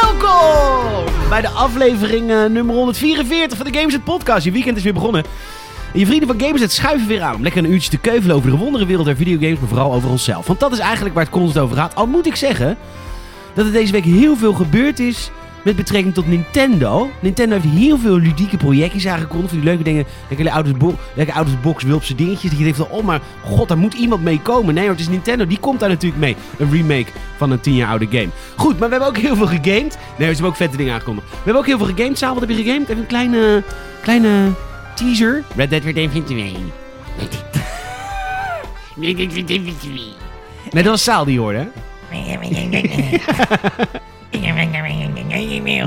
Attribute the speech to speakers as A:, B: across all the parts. A: Welkom bij de aflevering eh, nummer 144 van de Gameset Podcast. Je weekend is weer begonnen. En je vrienden van Gameset schuiven weer aan om lekker een uurtje te keuvelen over de wonderenwereld der videogames, maar vooral over onszelf. Want dat is eigenlijk waar het constant over gaat. Al moet ik zeggen dat er deze week heel veel gebeurd is met betrekking tot Nintendo. Nintendo heeft heel veel ludieke projectjes aangekondigd. Van die leuke dingen, lekker out of the bo- lekker out of the box wulpse dingetjes. Dat je denkt van, oh maar god, daar moet iemand mee komen. Nee hoor, het is Nintendo, die komt daar natuurlijk mee. Een remake van een 10 jaar oude game. Goed, maar we hebben ook heel veel gegamed. Nee, ze hebben ook vette dingen aangekondigd. We hebben ook heel veel gegamed. Saal, wat heb je gegamed? Even een kleine, kleine teaser. Red Dead Redemption 2. Nee, dat was Saal die je hoorde, hè?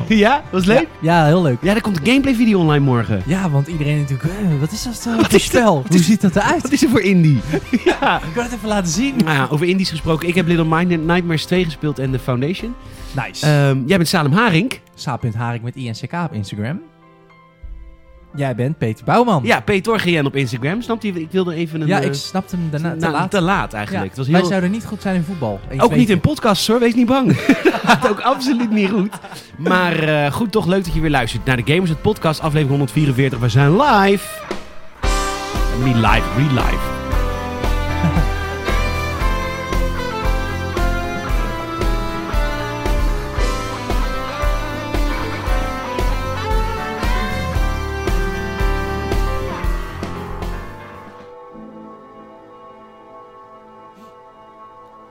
A: Ja, was leuk. Ja,
B: Ja, heel leuk.
A: daar komt een gameplay video online morgen.
B: Ja, want iedereen natuurlijk, eh, wat is dat eh,
A: Wat
B: voor
A: is dat?
B: spel?
A: Wat
B: Hoe
A: is-
B: ziet dat eruit?
A: Wat is er voor indie? ja.
B: Ik kan het even laten zien.
A: Nou ja, over indies gesproken. Ik heb Little Mind Nightmares 2 gespeeld en The Foundation.
B: Nice.
A: Ehm, jij bent Salem Haring.
B: Saap.harik met INCK op Instagram. Jij bent Peter Bouwman.
A: Ja, Peter GN op Instagram. Snapt hij? Ik wilde even een...
B: Ja,
A: eh,
B: ik snapte hem daarna
A: nou,
B: te laat. Ja,
A: eigenlijk. Het was
B: Wij
A: heel...
B: zouden niet goed zijn in voetbal. Eens
A: Ook niet
B: weten.
A: in podcasts hoor, wees niet bang. Gaat ook absoluut niet goed. Maar eh, goed, toch leuk dat je weer luistert naar de Gamers het Podcast, aflevering 144. We zijn live. En Niet live, real live.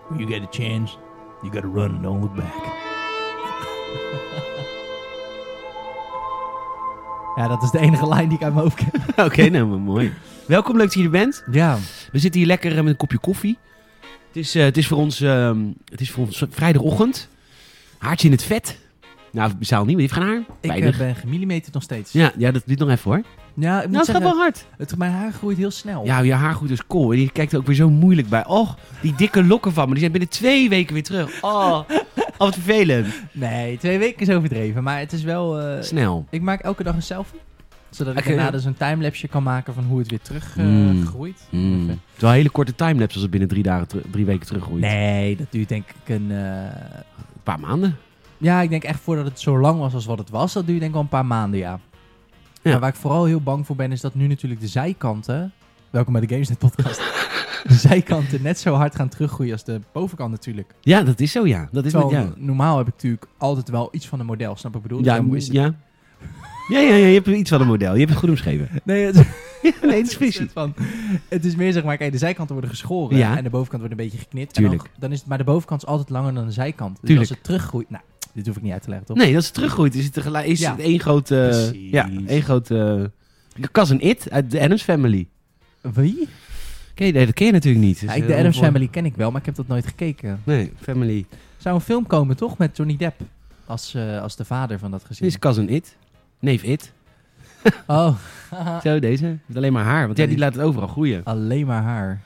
C: When you get a chance, you gotta run and don't look back.
B: Ja, dat is de enige lijn die ik uit mijn hoofd ken.
A: Oké, nou maar mooi. Welkom, leuk dat je er bent.
B: Ja.
A: We zitten hier lekker eh, met een kopje koffie. Het is, eh, het is, voor, ons, ehm, het is voor ons vrijdagochtend. Haartje in het vet. Nou, Saal niet, want die heeft geen haar.
B: Ik
A: Weinig.
B: eh, ben gemillimeterd nog steeds.
A: Ja, ja, dat duurt nog even hoor.
B: Ja,
A: Nou,
B: ik moet
A: het gaat
B: zeggen,
A: wel hard.
B: het, mijn haar groeit heel snel.
A: Ja, je haargoed is cool. En die kijkt er ook weer zo moeilijk bij. Och, die dikke lokken van me. Die zijn binnen twee weken weer terug. Oh, oh wat vervelend.
B: Nee, twee weken is overdreven. Maar het is wel... eh,
A: Snel.
B: ik maak elke dag een selfie. Zodat ik
A: Oké.
B: daarna dus een timelapse kan maken van hoe het weer terug eh,
A: Mm.
B: groeit.
A: Mm. Het is wel een hele korte timelapse als het binnen drie, dagen teru- drie weken teruggroeit.
B: Nee, dat duurt denk ik een. eh,
A: Een paar maanden.
B: Ja, ik denk echt voordat het zo lang was als wat het was, dat duurt denk ik wel een paar maanden, ja.
A: Ja.
B: Maar waar ik vooral heel bang voor ben, is dat nu natuurlijk de zijkanten. Welkom bij de Gamesnet podcast. de zijkanten net zo hard gaan teruggroeien als de bovenkant natuurlijk.
A: Ja, dat is zo ja. Dat is
B: Terwijl
A: met, ja.
B: normaal heb ik natuurlijk altijd wel iets van een model, snap ik bedoel? Dus
A: Ja,
B: daarom is het-
A: ja. Ja, ja, ja, je hebt iets van een model. Je hebt het goed omschreven.
B: Nee, het,
A: Ja, nee, het is
B: het,
A: precies.
B: van, het is meer zeg maar, kijk, de zijkanten worden geschoren
A: Ja.
B: en de bovenkant wordt een beetje geknipt. En
A: Tuurlijk.
B: dan, dan is het, maar de bovenkant is altijd langer dan de zijkant. Dus
A: Tuurlijk.
B: als het teruggroeit, nou, dit hoef ik niet uit te leggen, toch?
A: Nee, dat is teruggroeit. Is het tegelijk, is
B: Ja.
A: het één grote...
C: Precies.
A: Ja, één grote... Cas en It uit de Addams Family.
B: Wie?
A: Ken je, nee, dat ken je natuurlijk niet. Dus,
B: Ja, ik,
A: eh,
B: de Adams
A: onvoor-
B: Family ken ik wel, maar ik heb dat nooit gekeken.
A: Nee, Family.
B: Zou een film komen, toch? Met Johnny Depp als, eh, als de vader van dat
A: Dit
B: gezin.
A: is Cousin It. Neef It.
B: Oh,
A: Zo, deze. Met alleen maar haar. Want ja, die laat het overal groeien.
B: alleen maar haar.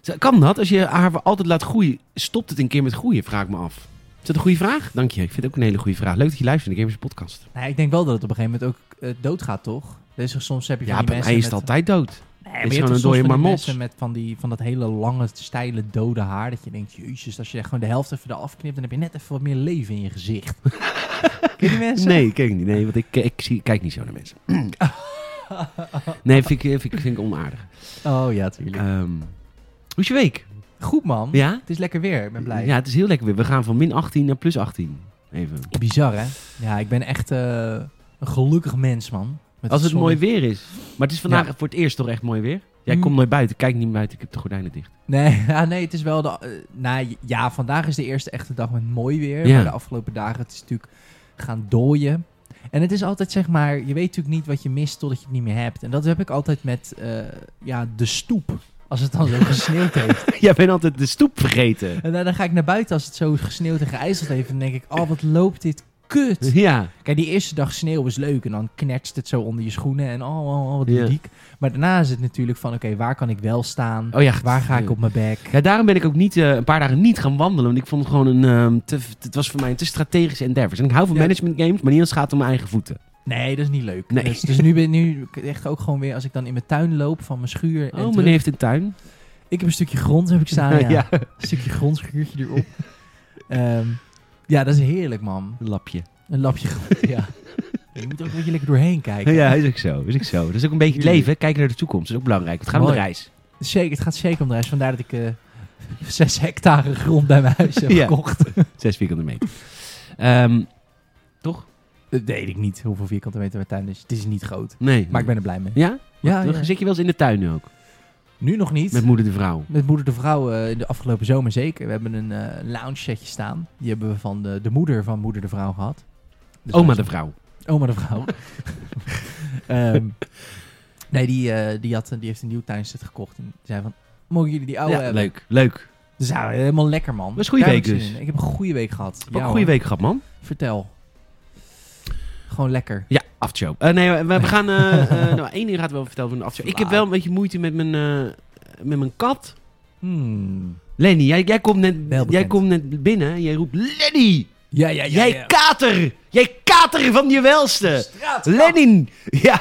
A: Zo, Kan dat? Als je haar voor altijd laat groeien, stopt het een keer met groeien? Vraag ik me af. Is dat een goede vraag? Dank je. Ik vind het ook een hele goede vraag. Leuk dat je luistert naar de Gamers Podcast.
B: Nee, Nou ik denk wel dat het op een gegeven moment ook eh, doodgaat, toch? Dus soms heb je van
A: Ja,
B: die mensen
A: hij is
B: met-
A: altijd dood. is
B: Nee, maar je hebt
A: gewoon
B: toch
A: een
B: soms
A: dode
B: van die
A: marmot.
B: mensen met van, die, van dat hele lange, steile, dode haar. Dat je denkt, jezus, als je gewoon de helft even eraf knipt, dan heb je net even wat meer leven in je gezicht. ken je die mensen?
A: Nee, kijk niet. Nee, want ik, ik zie, kijk niet zo naar mensen. Nee, vind ik, eh, vind ik, vind ik onaardig.
B: Oh ja, tuurlijk.
A: Ehm, hoe is je week?
B: Goed, man.
A: Ja?
B: Het is lekker weer, ik ben blij.
A: Ja, het is heel lekker weer. We gaan van min 18 naar plus 18. Even.
B: Bizar, hè? Ja, ik ben echt eh, een gelukkig mens, man. Met
A: Als het
B: zonnetje.
A: mooi weer is. Maar het is vandaag voor het eerst toch echt mooi weer? Jij
B: Mm.
A: komt nooit buiten. Kijk niet buiten. Ik heb de gordijnen dicht.
B: Nee, ja, nee, het is wel de. eh, nou, ja, vandaag is de eerste echte dag met mooi weer.
A: Ja.
B: Maar de afgelopen dagen het is natuurlijk gaan dooien. En het is altijd zeg maar, je weet natuurlijk niet wat je mist totdat je het niet meer hebt. En dat heb ik altijd met eh, ja, de stoep. Als het dan zo gesneeuwd heeft.
A: Jij bent altijd de stoep vergeten.
B: En dan dan ga ik naar buiten als het zo gesneeuwd en geijzeld heeft. En dan denk ik, oh wat loopt dit kut.
A: Ja.
B: Kijk, die eerste dag sneeuw is leuk en dan knertst het zo onder je schoenen en oh, oh, oh wat
A: Ja.
B: ludiek. Maar daarna is het natuurlijk van, oké, waar kan ik wel staan?
A: Oh ja.
B: Waar ga ik op mijn bek?
A: Ja, daarom ben ik ook niet, eh, een paar dagen niet gaan wandelen. Want ik vond het gewoon een. ehm, te, het was voor mij een te strategische endeavor. En ik hou van
B: Ja.
A: management games, maar niet als het gaat om mijn eigen voeten.
B: Nee, dat is niet leuk.
A: Nee.
B: Dus, dus nu ben nu echt ook gewoon weer, als ik dan in mijn tuin loop van mijn schuur. en
A: Oh,
B: terug-
A: meneer heeft een tuin.
B: Ik heb een stukje grond, heb ik staan. Ja.
A: ja.
B: Een stukje grondschuurtje erop. Ehm, ja, dat is heerlijk, man.
A: Een lapje.
B: Een lapje grond, ja. Je moet ook een beetje lekker doorheen kijken.
A: Ja, is ook zo. Is ook zo. Dat is ook een beetje het leven. Kijken naar de toekomst is ook belangrijk. Het gaat om de
B: Mooi.
A: reis.
B: Zeker, het gaat zeker om de reis. Vandaar dat ik eh zes hectare grond bij mijn huis heb
A: Ja.
B: gekocht.
A: Zes vierkante meter. Ehm, toch?
B: Dat weet ik niet hoeveel vierkante meter mijn tuin is. Het is niet groot.
A: Nee.
B: Maar ik ben er blij mee.
A: Ja?
B: Ja, ja.
A: Zit je wel eens in de tuin nu ook?
B: Nu nog niet.
A: Met moeder de vrouw.
B: Met moeder de vrouw eh, in de afgelopen zomer zeker. We hebben een eh, lounge setje staan. Die hebben we van de, de moeder van moeder de vrouw gehad. Dus
A: Oma
B: wij-
A: de vrouw.
B: Oma de vrouw. Ehm, nee, die, eh, die, had, die heeft een nieuw tuinset gekocht. En zei van, mogen jullie die oude
A: ja,
B: hebben?
A: leuk. Leuk.
B: Dus ja, helemaal lekker man.
A: Was een goede
B: Daar
A: week
B: heb ik zin
A: dus.
B: in. Ik heb een goede week gehad.
A: Wat
B: Ja,
A: een goede
B: hoor.
A: week gehad, man.
B: Vertel. Gewoon lekker.
A: Ja, aftershow. Eh, nee, we, we gaan... eh, eh, nou, één ding gaat wel vertellen van de aftershow. Ik heb wel een beetje moeite met mijn, eh, met mijn kat.
B: Hmm.
A: Lenny, jij, jij, komt net,
B: Wel bekend.
A: jij komt net binnen en jij roept... Lenny!
B: Ja, ja, ja.
A: jij
B: ja.
A: kater! Jij kater van je welste! Lenin! Ja,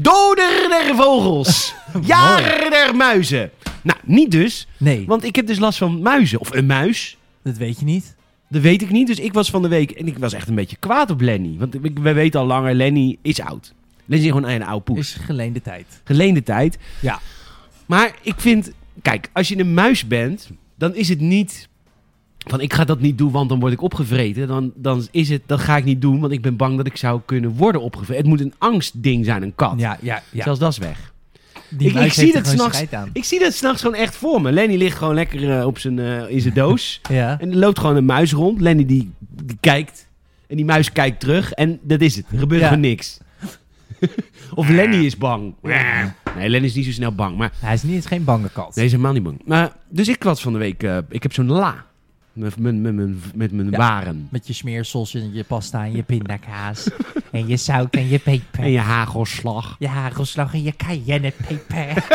A: doder der vogels! Jager der muizen! Nou, niet dus.
B: Nee,
A: Want ik heb dus last van muizen. Of een muis.
B: dat weet je niet.
A: Dat weet ik niet. Dus ik was van de week en ik was echt een beetje kwaad op Lenny. Want ik- we weten al langer, Lenny is oud. Lenny is gewoon een oude poes.
B: Is geleende tijd.
A: Geleende tijd.
B: Ja.
A: Maar ik vind, kijk, als je een muis bent, dan is het niet van ik ga dat niet doen, want dan word ik opgevreten. Dan, dan is het, dat ga ik niet doen, want ik ben bang dat ik zou kunnen worden opgevreten. Het moet een angstding zijn, een kat.
B: Ja, ja, ja.
A: Zelfs dat is weg.
B: Die
A: Ik-
B: muis
A: ik
B: heeft
A: zie
B: er
A: dat
B: gewoon
A: s'nachts-
B: scheid aan.
A: Ik zie dat s'nachts gewoon echt voor me. Lenny ligt gewoon lekker eh, op zijn, eh, in zijn doos.
B: Ja.
A: En er loopt gewoon een muis rond. Lenny die, die kijkt. En die muis kijkt terug. En dat is het. Er gebeurt
B: Ja.
A: gewoon niks. of Lenny is bang. Nee, Lenny is niet zo snel bang. Maar
B: Hij is niet, is geen bange kat.
A: nee, hij is helemaal niet bang. Maar, dus ik was van de week... eh, ik heb zo'n la. Met mijn met, met, met mijn
B: Ja.
A: waren.
B: Met je smeersels en je pasta en je pindakaas. en je zout en je peper.
A: En je hagelslag.
B: Je hagelslag en je cayennepeper.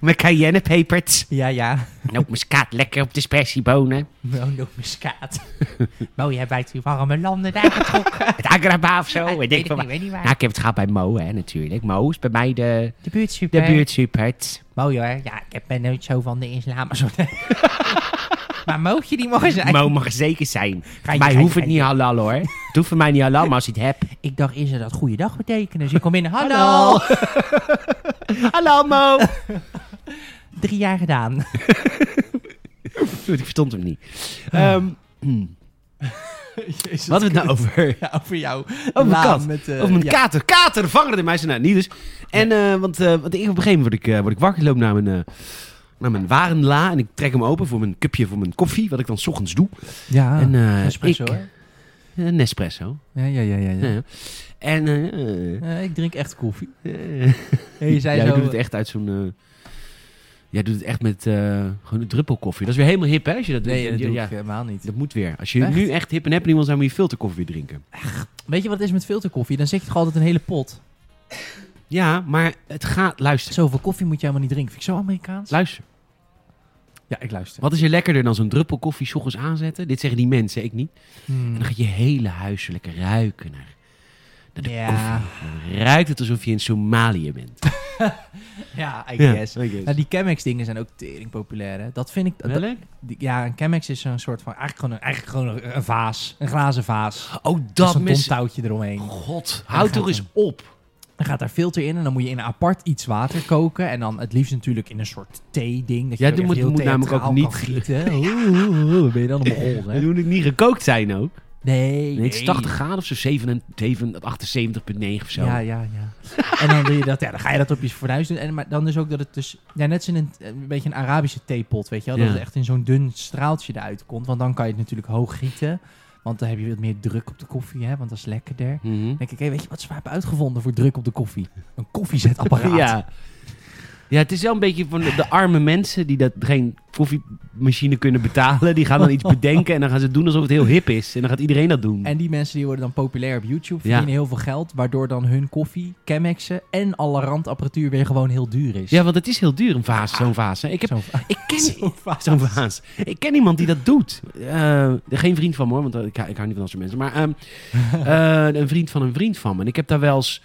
A: Mijn cayennepepert.
B: ja, ja.
A: En ook muskaat lekker op de spersiebonen.
B: Nou, nog muskaat. Mooi, jij bijt die warme landen daar getrokken.
A: Het agraba of zo.
B: Ah,
A: weet Oh, ik veel
B: niet,
A: wat.
B: weet niet
A: nou,
B: waar.
A: ik heb het gehad bij Mo, hè, natuurlijk. Mo is bij mij de,
B: De buurt
A: de
B: super.
A: buurtsupert.
B: Mooi hoor. Ja, ik ben nooit zo van de islam. maar mocht je die mogen zijn?
A: Mo mag zeker zijn.
B: Ga je-
A: Mij
B: ga je-
A: hoeft het
B: ga je-
A: niet halal hoor. Het hoeft voor mij niet halal, maar als je het hebt.
B: Ik dacht eerst dat dat goede dag betekende. Dus ik kom in. Hallo.
A: Hallo Mo!
B: Drie jaar gedaan.
A: ik verstond hem niet.
B: Ah,
A: Ehm, wat hebben we het nou over?
B: Ja, over jou.
A: Oh, mijn
B: Laan
A: kat.
B: Met, eh,
A: Over mijn
B: ja.
A: kater. Kater, vangen de meisje nou niet dus. En, eh, want, eh, want ik, op een gegeven moment word ik, eh, word ik wakker, loop naar mijn, eh, naar mijn warenla en ik trek hem open voor mijn cupje, voor mijn koffie, wat ik dan 's ochtends doe.
B: Ja,
A: en, eh,
B: espresso
A: ik-
B: hoor.
A: Een Nespresso.
B: Ja, ja, ja, ja. ja.
A: Ja. En eh, eh,
B: Eh, ik drink echt koffie.
A: eh,
B: Hey, je zei
A: jij
B: zo-
A: doet het echt uit zo'n... eh, jij doet het echt met eh, gewoon een druppel koffie. Dat is weer helemaal hip, hè? Als je dat doet.
B: Nee, dat
A: Ja,
B: doe
A: ja.
B: ik eh, helemaal niet.
A: Dat moet weer. Als je
B: Echt?
A: nu echt hip en happy wil zijn, moet je filterkoffie weer drinken.
B: Weet je wat het is met filterkoffie? Dan zet je toch altijd een hele pot.
A: Ja, maar het gaat... Luister.
B: Zoveel koffie moet je helemaal niet drinken. Vind ik zo Amerikaans?
A: Luister.
B: Ja, ik luister.
A: Wat is er lekkerder dan zo'n druppel koffie 's ochtends aanzetten? Dit zeggen die mensen, ik niet. En dan gaat je hele huis er lekker ruiken naar, naar de
B: Ja.
A: koffie. Dan ruikt het alsof je in Somalië bent.
B: Ja, I
A: Ja,
B: guess.
A: I guess.
B: Nou, die Chemex dingen zijn ook tering populair, hè? Dat vind ik... dat-
A: Welk?
B: die- ja, een Chemex is zo'n soort van... Eigenlijk gewoon een, eigenlijk gewoon een, een vaas. Een glazen vaas.
A: Oh,
B: Dat
A: dat
B: zo'n
A: mis...
B: domtouwtje eromheen.
A: God,
B: Daar
A: houd
B: gaat
A: toch eens op.
B: Dan gaat daar filter in en dan moet je in een apart iets water koken. En dan het liefst natuurlijk in een soort thee-ding. Dat je
A: Ja,
B: ook
A: die
B: echt
A: moet-
B: heel
A: moet namelijk ook
B: theatraal
A: niet-
B: kan gieten. Oeh, oeh, oeh, ben je dan een begon, hè?
A: Dan moet het niet gekookt zijn ook.
B: Nee,
A: Nee, het is 80 graden of zo, 77, 78,9 of zo.
B: Ja, ja, ja. en dan doe je dat, ja, dan ga je dat op je fornuis doen. En maar dan dus ook dat het dus, ja, net zo'n een, een beetje een Arabische theepot, weet je wel. Dat
A: Ja.
B: het echt in zo'n dun straaltje eruit komt. Want dan kan je het natuurlijk hoog gieten. Want dan heb je wat meer druk op de koffie, hè, want dat is lekkerder.
A: Mhm.
B: Dan denk ik, hé, weet je wat ze hebben uitgevonden voor druk op de koffie? Een koffiezetapparaat.
A: Ja. Ja, het is wel een beetje van de, de arme mensen die dat geen koffiemachine kunnen betalen. Die gaan dan iets bedenken en dan gaan ze doen alsof het heel hip is. En dan gaat iedereen dat doen.
B: En die mensen die worden dan populair op YouTube, verdienen
A: Ja.
B: heel veel geld, waardoor dan hun koffie, Chemexen en alle randapparatuur weer gewoon heel duur is.
A: Ja, want het is heel duur, een vaas, zo'n vaas. hè. Ik, heb,
B: Zo'n-
A: ik ken
B: zo'n vaas.
A: zo'n vaas. Ik ken iemand die dat doet. Eh, geen vriend van me hoor, want eh, ik, ik hou niet van dat soort mensen. Maar ehm, eh, een vriend van een vriend van me. En ik heb daar wel eens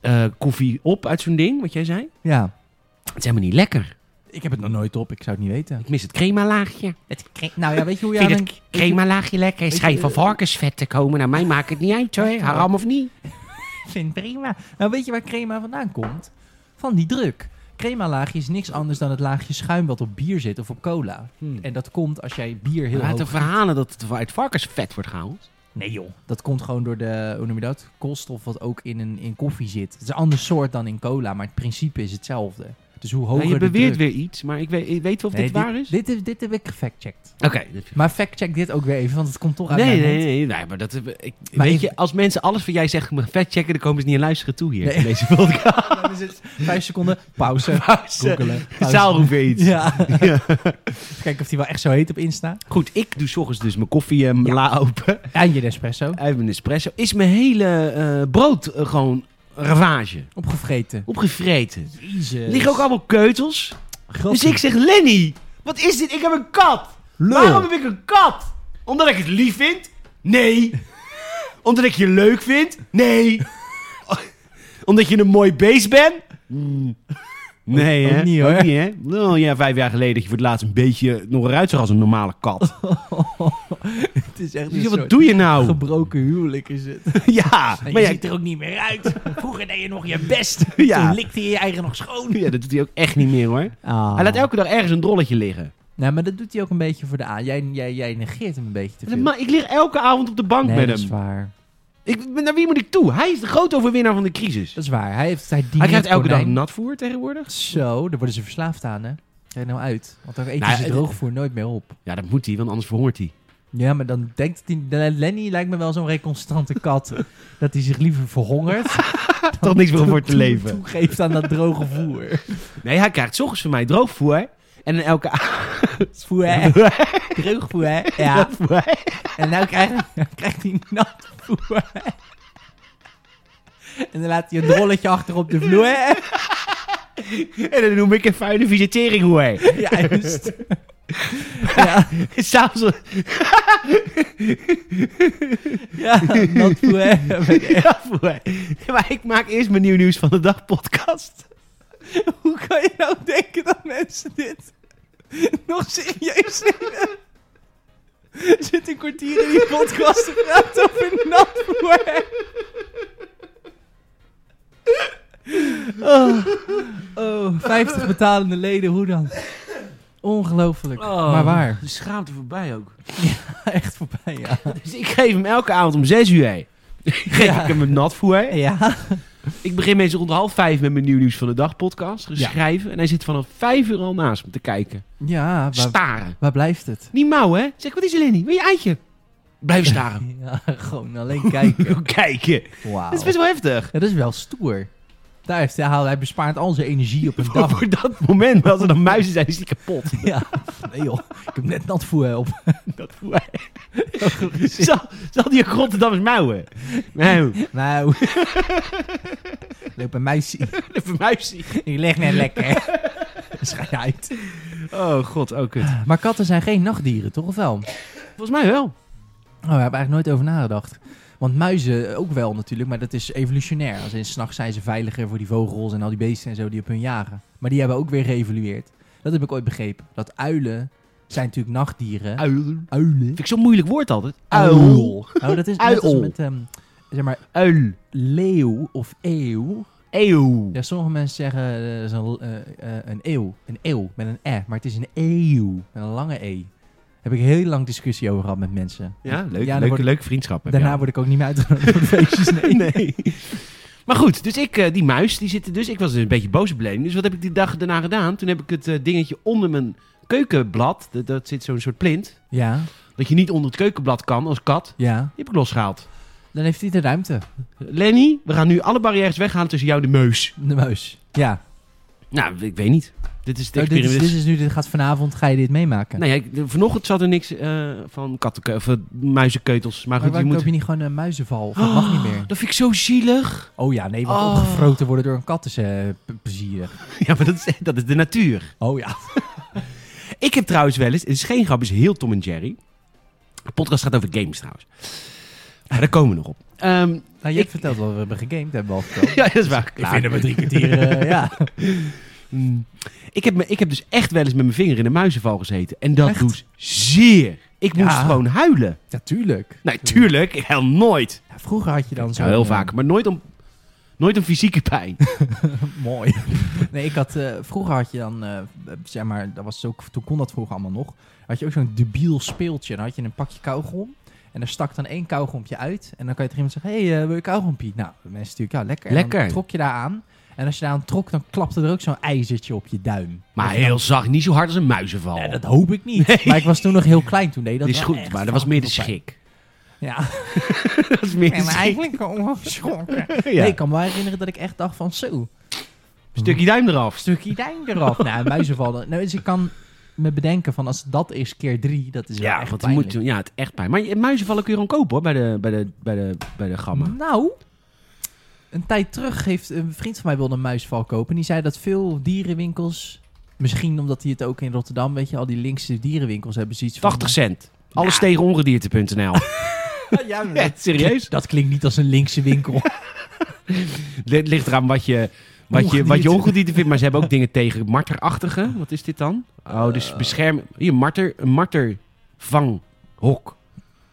A: eh, koffie op uit zo'n ding, wat jij zei.
B: Ja.
A: Het is helemaal niet lekker.
B: Ik heb het nog nooit op, ik zou het niet weten.
A: Ik mis het crema laagje.
B: Nou ja, weet je hoe jij
A: Vind je
B: dan...
A: het crema laagje lekker? Het
B: je,
A: schijnt van
B: eh,
A: varkensvet te komen. Nou, mij maakt het niet uit hoor. Haram of niet.
B: vind prima. Nou, weet je waar crema vandaan komt? Van die druk. Crema laagje is niks anders dan het laagje schuim wat op bier zit of op cola. En dat komt als jij bier heel
A: Hmm. Heel uit de
B: hoog...
A: verhalen dat het uit varkensvet wordt gehaald.
B: Nee joh. Dat komt gewoon door de, hoe noem je dat? Koolstof wat ook in, een, in koffie zit. Het is een ander soort dan in cola, maar het principe is hetzelfde. Dus hoe hoger
A: Nou, je
B: de
A: beweert
B: druk-
A: weer iets, maar ik weet, ik weet wel of
B: Nee,
A: dit waar is.
B: Dit, dit, dit heb ik gefactcheckt.
A: Oké.
B: Maar factcheck dit ook weer even, want het komt toch uit
A: Nee,
B: mijn
A: nee,
B: mond.
A: nee, nee, maar dat, eh, ik,
B: Maar
A: weet
B: even-
A: je, als mensen alles van jij zeggen, me vet checken, dan komen ze niet aan luisteren toe hier.
B: Nee.
A: in Deze podcast.
B: Dan is het vijf seconden, pauze, googelen. pauze.
A: Zaal roept weer iets.
B: Ja. Even kijken of die wel echt zo heet op Insta.
A: Goed, ik doe 's ochtends dus mijn koffie en
B: Ja.
A: la open.
B: En je Nespresso.
A: Even een espresso. Is mijn hele eh, brood eh, gewoon ravage.
B: Opgevreten.
A: Opgevreten.
B: Jezus.
A: Liggen ook allemaal keutels.
B: Grappig.
A: Dus ik zeg, Lenny, wat is dit? Ik heb een kat.
B: Lul.
A: Waarom heb ik een kat? Omdat ik het lief vind? Nee. Omdat ik je leuk vind? Nee. Omdat je een mooi beest bent? Mm. Nee,
B: Ook-
A: hè?
B: ook niet, hoor.
A: Ook niet, hè? Nou ja, vijf jaar geleden dat je voor het laatst een beetje nog eruit zag als een normale kat.
B: Het is echt
A: Dus
B: een
A: ja, wat
B: soort
A: doe je nou?
B: gebroken huwelijk is het.
A: ja, maar ja,
B: er ook niet meer uit. Vroeger deed je nog je best.
A: Ja.
B: likte je je eigen nog schoon.
A: ja, dat doet hij ook echt niet meer, hoor.
B: Ah.
A: Hij laat elke dag ergens een drolletje liggen.
B: Nou, maar dat doet hij ook een beetje voor de aan. Jij, jij, jij negeert hem een beetje te
A: Dat
B: veel.
A: ma- Ik lig elke avond op de bank
B: nee,
A: met
B: dat
A: hem.
B: is waar.
A: Ik, naar wie moet ik toe? Hij is de grote overwinnaar van de crisis.
B: Dat is waar. Hij, heeft, hij,
A: Hij krijgt elke dag
B: nat.
A: natvoer tegenwoordig.
B: Zo, daar worden ze verslaafd aan, hè? Kijk nou uit. Want dan eten
A: Nou,
B: ze
A: het-
B: droogvoer nooit meer op.
A: Ja, dat moet hij, want anders verhoort hij.
B: Ja, maar dan denkt die, Lenny lijkt me wel zo'n reconstante kat. dat hij zich liever verhongert.
A: Toch niks meer om voor
B: dan
A: te leven.
B: Toegeeft aan dat droge voer.
A: Nee, hij krijgt 's ochtends van mij droogvoer. En dan elke avond
B: Voer, hè? Droog voer, hè? Ja.
A: droogvoer.
B: En nou krijgt, krijgt hij nat voer. En dan laat hij een rolletje achter op de vloer. hè?
A: En dan noem ik een vuile visitering hoe.
B: Juist. Ja,
A: S'avonds.
B: ja, nat voer. hè?
A: Ja, voer. Maar ik maak eerst mijn nieuw nieuws van de dag podcast.
B: Hoe kan je nou denken dat mensen dit nog serieus nemen? Er zit een kwartier in die podcast te praten over natvoer. Oh, oh, 50 betalende leden, hoe dan? Ongelooflijk,
A: Oh.
B: maar waar.
A: De schaamte voorbij ook.
B: Echt voorbij, ja.
A: Dus ik geef hem elke avond om 6 uur. hè. Geef ik hem een natvoer.
B: Ja,
A: Ik begin meestal rond half vijf met mijn nieuw nieuws van de dag podcast. Dus
B: Ja.
A: schrijven. En hij zit vanaf vijf uur al naast me te kijken.
B: ja waar,
A: Staren.
B: waar blijft het?
A: Niet mouw, hè? Zeg, wat is er, Lenny? Wil je eitje? Blijven staren.
B: Ja, gewoon alleen kijken.
A: Kijken.
B: Wauw.
A: Dat is best wel heftig.
B: Ja, dat is wel stoer. Daar heeft hij, hij bespaart al zijn energie op een dag.
A: Voor dat moment, als er dan muizen zijn, is die kapot.
B: Ja, nee joh, ik heb net nat voer op.
A: Dat voel ik. Zal, zal die Rotterdammers mouwen? Nou,
B: Nou, loop een muisje.
A: even muisie.
B: Ik leg net lekker. Schijn uit.
A: Oh god, oh kut.
B: Maar katten zijn geen nachtdieren, toch of wel?
A: Volgens mij wel.
B: Oh, daar heb ik eigenlijk nooit over nagedacht. Want muizen ook wel natuurlijk, maar dat is evolutionair. Als in s'nachts zijn ze veiliger voor die vogels en al die beesten en zo die op hun jagen. Maar die hebben ook weer geëvolueerd. Dat heb ik ooit begrepen. Dat uilen zijn natuurlijk nachtdieren.
A: Uil. Vind
B: Uilen?
A: ik zo'n moeilijk woord altijd.
B: Uil. Oh, dat is net als
A: Uil.
B: met, ehm, zeg maar,
A: Uil.
B: leeuw of eeuw.
A: Eeuw.
B: Ja, sommige mensen zeggen eh, dat is een, eh, eh, een eeuw. Een eeuw met een e. Maar het is een eeuw. Met een lange e. Heb ik heel lang discussie over gehad met mensen.
A: Ja, leuk.
B: Ja, dan
A: leuke,
B: word-
A: leuke vriendschap. heb
B: Daarna
A: je al.
B: word ik ook niet meer uitgenodigd voor de feestjes. Nee.
A: nee. Maar goed, dus ik, eh, die muis, die zit er dus. Ik was dus een beetje boos op Lenin. Dus wat heb ik die dag daarna gedaan? Toen heb ik het eh, dingetje onder mijn keukenblad. Dat, dat zit zo'n soort plint.
B: Ja,
A: Dat je niet onder het keukenblad kan als kat.
B: ja.
A: Die heb ik losgehaald.
B: Dan heeft hij de ruimte.
A: Lenny, we gaan nu alle barrières weghalen tussen jou en de meus.
B: De muis. Ja.
A: Nou, ik weet niet. Dit is het
B: Oh, dit,
A: experiment.
B: is, dit is nu, dit gaat vanavond, ga je dit meemaken.
A: Nou ja, ik- vanochtend zat er niks eh, van kattenke- of eh, muizenkeutels. Maar
B: maar
A: goed,
B: waarom
A: je moet... Oh,
B: koop je niet gewoon een muizenval? Of Dat mag niet meer.
A: Dat vind ik zo zielig.
B: Oh ja, nee, want
A: Oh.
B: opgefroten worden door een kat is eh, p- plezierig.
A: Ja, maar dat is, dat is de natuur.
B: Oh ja.
A: Ik heb trouwens wel eens, het is geen grap, het is heel Tom en Jerry. De podcast gaat over games trouwens. Maar daar komen we nog op. Ehm,
B: Nou, je
A: Ik-
B: hebt verteld wel, we hebben gegamed, hebben we al verteld.
A: ja, dat is waar.
B: Ik vind dat we drie kwartier, eh, ja.
A: Mm. Ik heb, me, ik heb dus echt wel eens met mijn vinger in een muizenval gezeten. En dat
B: Echt?
A: doet zeer. Ik moest
B: Ja.
A: gewoon huilen.
B: Natuurlijk.
A: Nee, tuurlijk. Hel nooit.
B: vroeger had je dan eh, zo...
A: Ja, heel vaak. Maar nooit om, nooit om fysieke pijn.
B: Mooi. Nee, ik had, eh, vroeger had je dan, eh, zeg maar, dat was ook, toen kon dat vroeger allemaal nog. Had je ook zo'n debiel speeltje. Dan had je een pakje kauwgom. En daar stak dan één kauwgompje uit. En dan kan je tegen iemand zeggen, hé, hey, eh, wil je kauwgompie? Nou, de mensen natuurlijk, ja, lekker. En
A: Lekker.
B: dan trok je daar aan. En als je daar aan trok, dan klapte er ook zo'n ijzertje op je duim.
A: Maar
B: Dat je dan-
A: heel zacht. Niet zo hard als een muizenval.
B: Nee, dat hoop ik niet. Maar ik was toen nog heel klein toen deed dat
A: Dat is
B: wel
A: goed,
B: echt
A: maar dat was meer de
B: fucking veel
A: schik.
B: pijn. Ja,
A: dat is meer de
B: en
A: schik.
B: eigenlijk ongeschrokken.
A: Ja.
B: Nee, ik kan me wel herinneren dat ik echt dacht van zo,
A: Stukje duim eraf.
B: stukje duim eraf. nou, muizen vallen. Nou, dus ik kan me bedenken van als dat is keer drie, dat is wel
A: Ja,
B: echt
A: want het
B: pijnlijk.
A: moet, ja, het echt pijn. Maar je- muizenvallen kun je gewoon kopen hoor, bij de, bij de, bij de, bij de gamma.
B: Nou, een tijd terug heeft een vriend van mij wilde een muisval kopen. Die zei dat veel dierenwinkels, misschien omdat hij het ook in Rotterdam, weet je, al die linkse dierenwinkels hebben zoiets van...
A: 80 cent. Alles tegen ongedierte.nl.
B: Ja, maar
A: Ja, serieus?
B: Dat klinkt niet als een linkse winkel.
A: Het ligt eraan wat je, wat je, wat je
B: Ongedierte.
A: ongedierte vindt. Maar ze hebben ook dingen tegen marterachtige. Wat is dit dan? Oh,
B: Eh.
A: dus bescherm... Hier, marter, een martervanghok.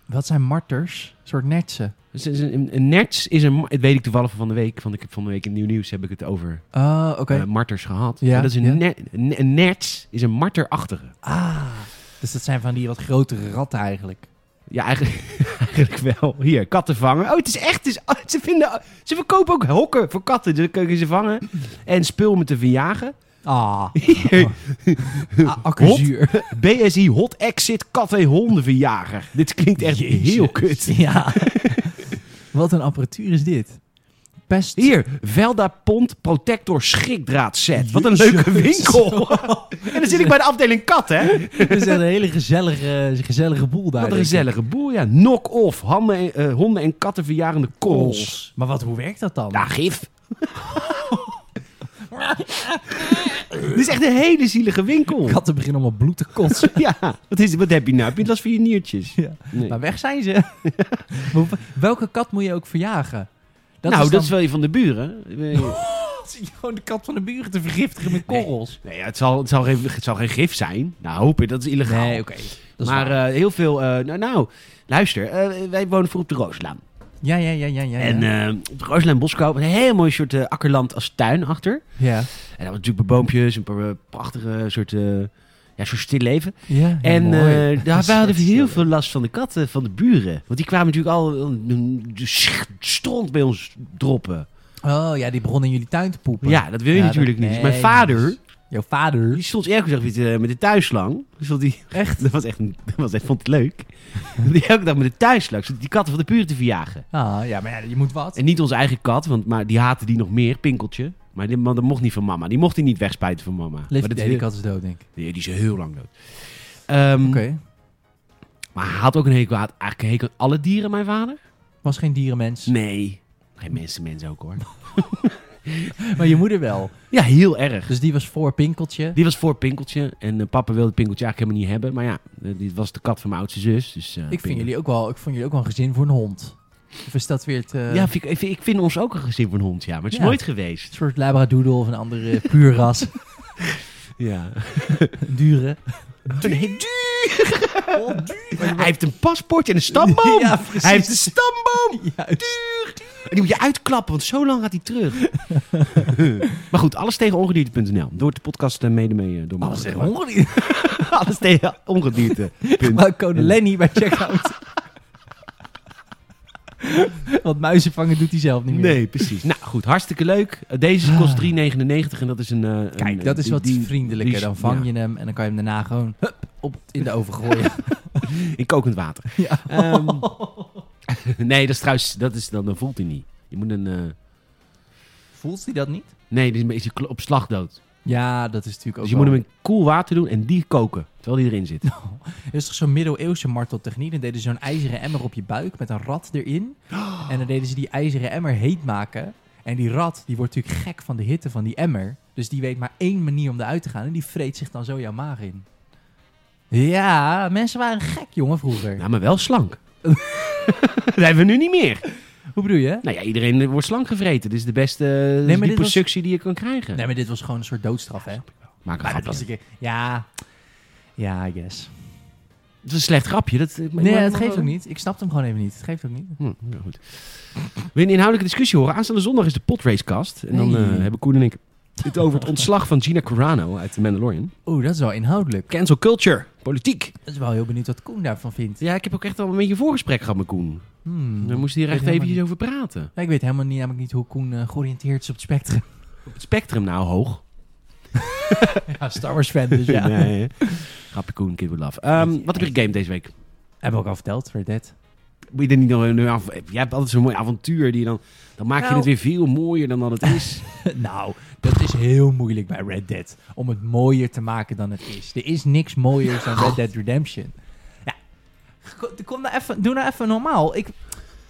B: Wat zijn marters? Een soort nertsen.
A: Dus is een, een- een nerts is een... mar- Dat weet ik toevallig van van de week. Want ik heb van de week in Nieuw Nieuws heb ik het over
B: Ah, oké.
A: eh, marters gehad.
B: Ja,
A: Maar dat is een,
B: ja.
A: ner- een- een nerts is een marterachtige.
B: Ah, dus dat zijn van die wat grotere ratten eigenlijk.
A: Ja, eigenlijk, eigenlijk wel. Hier, katten vangen. Oh, het is echt. Het is, oh, ze, vinden, ze verkopen ook hokken voor katten. Dus dan kun je ze vangen. En spul met te verjagen.
B: Ah,
A: Hier,
B: ah, accuzuur.
A: BSI Hot Exit Katten Hondenverjager. Dit klinkt echt
B: Jezus.
A: heel kut.
B: Ja. wat een apparatuur is dit. Pest.
A: Hier, Velda Pond Protector Schrikdraad Set. Wat een
B: Jezus.
A: leuke winkel. en dan zit ik bij de afdeling kat, hè?
B: Dit is echt een hele gezellige, gezellige boel daar.
A: Wat een
B: denk ik.
A: gezellige boel, ja. Knock-off. Handen en- eh, honden en katten verjarende korrels.
B: Maar wat, hoe werkt dat dan?
A: Ja, gif. Dit is echt een hele zielige winkel.
B: Katten beginnen allemaal bloed te kotsen.
A: Ja, wat, is, wat heb je nou? Heb je last van je niertjes?
B: Ja.
A: Nee.
B: Maar weg zijn ze. Maar Welke kat moet je ook verjagen?
A: nou,
B: is
A: dat
B: dan-
A: is wel je van de buren. Eh,
B: Zit je gewoon de kat van de buren te vergiftigen met korrels.
A: nee, ja, het, zal, het, zal geen, het zal geen gif zijn. Nou, hoop ik, dat is illegaal.
B: Dat is
A: maar
B: waar.
A: eh, heel veel... eh, nou, nou, luister, eh, wij wonen voor op de Rooslaan.
B: ja, ja, ja, ja, ja. ja.
A: En eh, op de Rooslaan Boskoop, een heel mooi soort eh, akkerland als tuin achter.
B: ja.
A: En dan natuurlijk boompjes, een paar eh, prachtige soort, eh, ja, soort stil leven.
B: Ja, ja,
A: En
B: mooi.
A: eh daar hadden we heel
B: Stil.
A: veel last van de katten, van de buren. Want die kwamen natuurlijk al eh, de sch- stront bij ons droppen.
B: Oh ja, die begon in jullie tuin te poepen.
A: Ja, dat wil je
B: Ja,
A: natuurlijk
B: dat-
A: niet. Dus mijn
B: nee,
A: vader,
B: Jouw vader.
A: die stond elke dag weer te- eh, met de tuinslang. Dus dat, die,
B: Echt?
A: dat was echt, een- dat was echt, vond het leuk. Die elke dag met de tuinslang zat die katten van de buren te verjagen.
B: Ah, ja, maar ja, je moet wat.
A: En niet onze eigen kat, want maar die haatte die nog meer, Pinkeltje. Maar die, maar dat mocht niet van mama. Die mocht hij niet wegspuiten van mama.
B: Leeft
A: maar dat
B: nee, die kat is dood, denk ik.
A: Nee, die is heel lang dood. Ehm,
B: Oké.
A: Maar hij had ook een hekel, hij had eigenlijk een hekel aan alle dieren, mijn vader.
B: Was geen dierenmens.
A: Nee. Geen mensen, mensen ook hoor.
B: Maar je moeder wel.
A: Ja, heel erg.
B: Dus die was voor Pinkeltje.
A: Die was voor Pinkeltje. En eh, papa wilde Pinkeltje eigenlijk helemaal niet hebben. Maar ja, eh, dit was de kat van mijn oudste zus. Dus, eh,
B: Ik, vind
A: Pinkel-
B: jullie ook wel, ik vond jullie ook wel een gezin voor een hond. Of is dat weer het eh,
A: Ja, vind ik, ik vind- ik vind ons ook een gezin van een hond, ja. Maar het is
B: Ja.
A: nooit geweest.
B: soort labradoodle of een andere eh, puur ras?
A: Ja.
B: Een dure.
A: Oh, Hij heeft een paspoort en een stamboom.
B: Ja, precies.
A: Hij heeft een stamboom.
B: Juist.
A: En die moet je uitklappen, want zo lang gaat hij terug. maar goed, alles tegen ongedierte.nl. Door de podcast eh, mede mee eh, door mijn
B: Alles
A: hoofd.
B: honger.
A: alles tegen eh, ongedierte.
B: Maar code Lenny bij checkout. Want muizen vangen doet hij zelf niet meer.
A: Nee, precies. Nou goed, hartstikke leuk. Eh, Deze kost 3,99 en dat is een... eh, een-
B: Ah. Kijk, dat is
A: die-
B: wat
A: die-
B: vriendelijker.
A: die-
B: Dan vang
A: ja,
B: je hem en dan kan je hem daarna gewoon hup, op, in de oven gooien.
A: In kokend water.
B: Ja.
A: Ehm, nee, dat is trouwens... Dat is, dan, dan voelt hij niet. Je moet een... eh,
B: Voelt hij dat niet?
A: nee, dan is hij kl- op slag dood.
B: Ja, dat is natuurlijk ook
A: Dus je moet
B: wel-
A: hem in koel water doen en die koken, terwijl die erin zit.
B: Er is toch zo'n middeleeuwse marteltechniek. Dan deden ze zo'n ijzeren emmer op je buik met een rat erin. En dan deden ze die ijzeren emmer heet maken. En die rat, die wordt natuurlijk gek van de hitte van die emmer. Dus die weet maar één manier om eruit te gaan. En die vreet zich dan zo jouw maag in. Ja, mensen waren gek, jongen, vroeger.
A: Ja, Nou, maar wel slank. dat hebben we nu niet meer.
B: Hoe bedoel je?
A: Nou ja, iedereen wordt slank gevreten. Dit is de beste eh,
B: maar dit
A: liposuctie die je kan krijgen.
B: Nee, maar dit was gewoon een soort doodstraf, hè?
A: Maak een
B: Maar dat
A: grapje.
B: was een keer... Ja... Ja, I guess.
A: Het is een slecht grapje. Dat, ik-
B: Nee,
A: maar-
B: dat geeft ook niet. Ik snapte hem gewoon even niet. Het geeft ook niet.
A: Hm, ja, goed. Wil je een inhoudelijke discussie horen? Aanstaande zondag is de potracecast. En dan
B: Nee.
A: eh, hebben Koen en ik het over het ontslag van Gina Carano uit The Mandalorian.
B: Oeh, dat is wel inhoudelijk.
A: Cancel culture. Politiek.
B: Dat is wel heel benieuwd wat Koen daarvan vindt.
A: Ja, ik heb ook echt al een beetje een voorgesprek gehad met Koen.
B: Hmm.
A: We moesten hier
B: Ik
A: echt
B: weet
A: eventjes
B: helemaal
A: over praten.
B: Ja, ik weet helemaal niet, namelijk niet hoe Koen eh, georiënteerd is op het spectrum.
A: Op het spectrum nou hoog.
B: Ja, Star Wars fan, dus ja.
A: Nee, hè? Grapje Koen, kid with love. Ehm, wat heb je gegamed deze week?
B: Hebben we ook al verteld, Red Dead.
A: Moet je er niet nog een af... Jij hebt altijd zo'n mooi avontuur. Die je dan, dan maak je
B: Nou.
A: het weer veel mooier dan dat het is.
B: nou, dat is heel moeilijk bij Red Dead. Om het mooier te maken dan het is. Er is niks mooier dan Red Dead Redemption. Ja, ko- kom nou even, doe nou even normaal. Ik,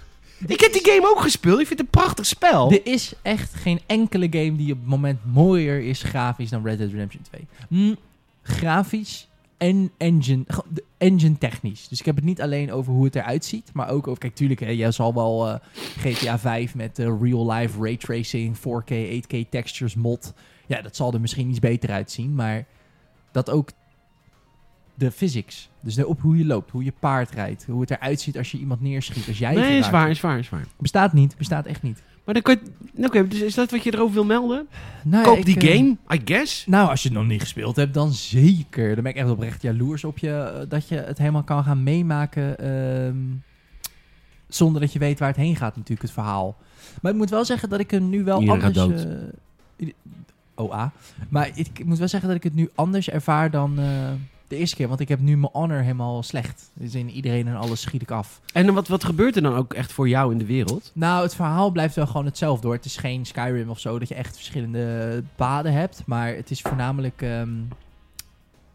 A: ik heb die game ook gespeeld. Ik vind het een prachtig spel.
B: er is echt geen enkele game die op het moment mooier is grafisch dan Red Dead Redemption 2. Mm, grafisch en engine, gewoon de- engine technisch. Dus ik heb het niet alleen over hoe het eruit ziet, maar ook over... Kijk, tuurlijk, hè, jij zal wel eh, GTA 5 met eh, real-life raytracing, 4K, 8K textures mod. Ja, dat zal er misschien iets beter uitzien, maar dat ook de physics. Dus de- op hoe je loopt, hoe je paard rijdt, hoe het eruit ziet als je iemand neerschiet, als jij
A: nee, is
B: geraakt
A: waar,
B: wordt.
A: is waar, is waar.
B: Bestaat niet, bestaat echt niet.
A: Maar dan kan je... Oké, dus is dat wat je erover wil melden?
B: Nou,
A: Koop
B: ik,
A: die
B: eh,
A: game, I guess.
B: Nou, als je het nog niet gespeeld hebt, dan zeker. Dan ben ik echt oprecht jaloers op je eh, dat je het helemaal kan gaan meemaken. ehm, zonder dat je weet waar het heen gaat, natuurlijk, het verhaal. Maar ik moet wel zeggen dat ik hem nu wel
A: Iedereen gaat
B: anders. eh, i- OA. Maar ik, ik moet wel zeggen dat ik het nu anders ervaar dan eh, de eerste keer. Want ik heb nu mijn honor helemaal slecht. Dus in iedereen en alles schiet ik af.
A: En dan wat, wat gebeurt er dan ook echt voor jou in de wereld?
B: Nou, het verhaal blijft wel gewoon hetzelfde hoor. Het is geen Skyrim of zo, dat je echt verschillende paden hebt. Maar het is voornamelijk ehm,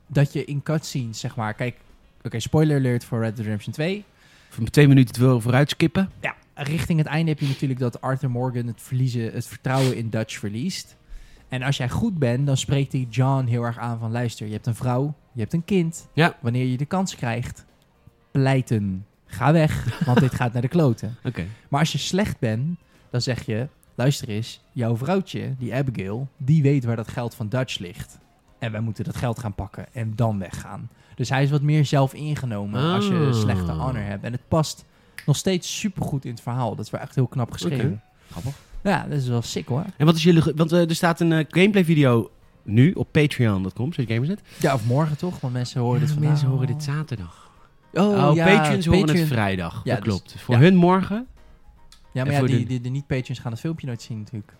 B: dat je in cutscenes, zeg maar... Kijk, oké, spoiler alert voor Red Dead Redemption 2.
A: Van twee minuten het wil vooruit skippen.
B: Ja, richting het einde heb je natuurlijk dat Arthur Morgan het, verliezen, het vertrouwen in Dutch verliest. En als jij goed bent, dan spreekt hij John heel erg aan van... Luister, je hebt een vrouw, je hebt een kind.
A: Ja.
B: Wanneer je de kans krijgt, pleiten. Ga weg, want dit gaat naar de kloten.
A: Oké.
B: Maar als je slecht bent, dan zeg je: luister eens, jouw vrouwtje, die Abigail, die weet waar dat geld van Dutch ligt. En wij moeten dat geld gaan pakken en dan weggaan. Dus hij is wat meer zelf ingenomen als je
A: Ah.
B: een slechte honor hebt. En het past nog steeds supergoed in het verhaal. Dat is wel echt heel knap geschreven.
A: Grappig.
B: Ja, dat is wel sick hoor.
A: En wat is jullie... ge- Want eh, er staat een eh, gameplay video nu op patreon.com. Zet Gamersnet.
B: Ja, of morgen toch? Want mensen horen dit vandaag.
A: Mensen horen dit zaterdag.
B: Oh,
A: Oh,
B: ja,
A: patrons horen
B: Patreon.
A: het vrijdag.
B: Ja,
A: dat
B: dus-
A: klopt. voor
B: ja.
A: hun morgen...
B: Ja,
A: En
B: maar ja,
A: voor
B: die,
A: de-
B: die, de niet-patrons gaan het filmpje nooit zien natuurlijk.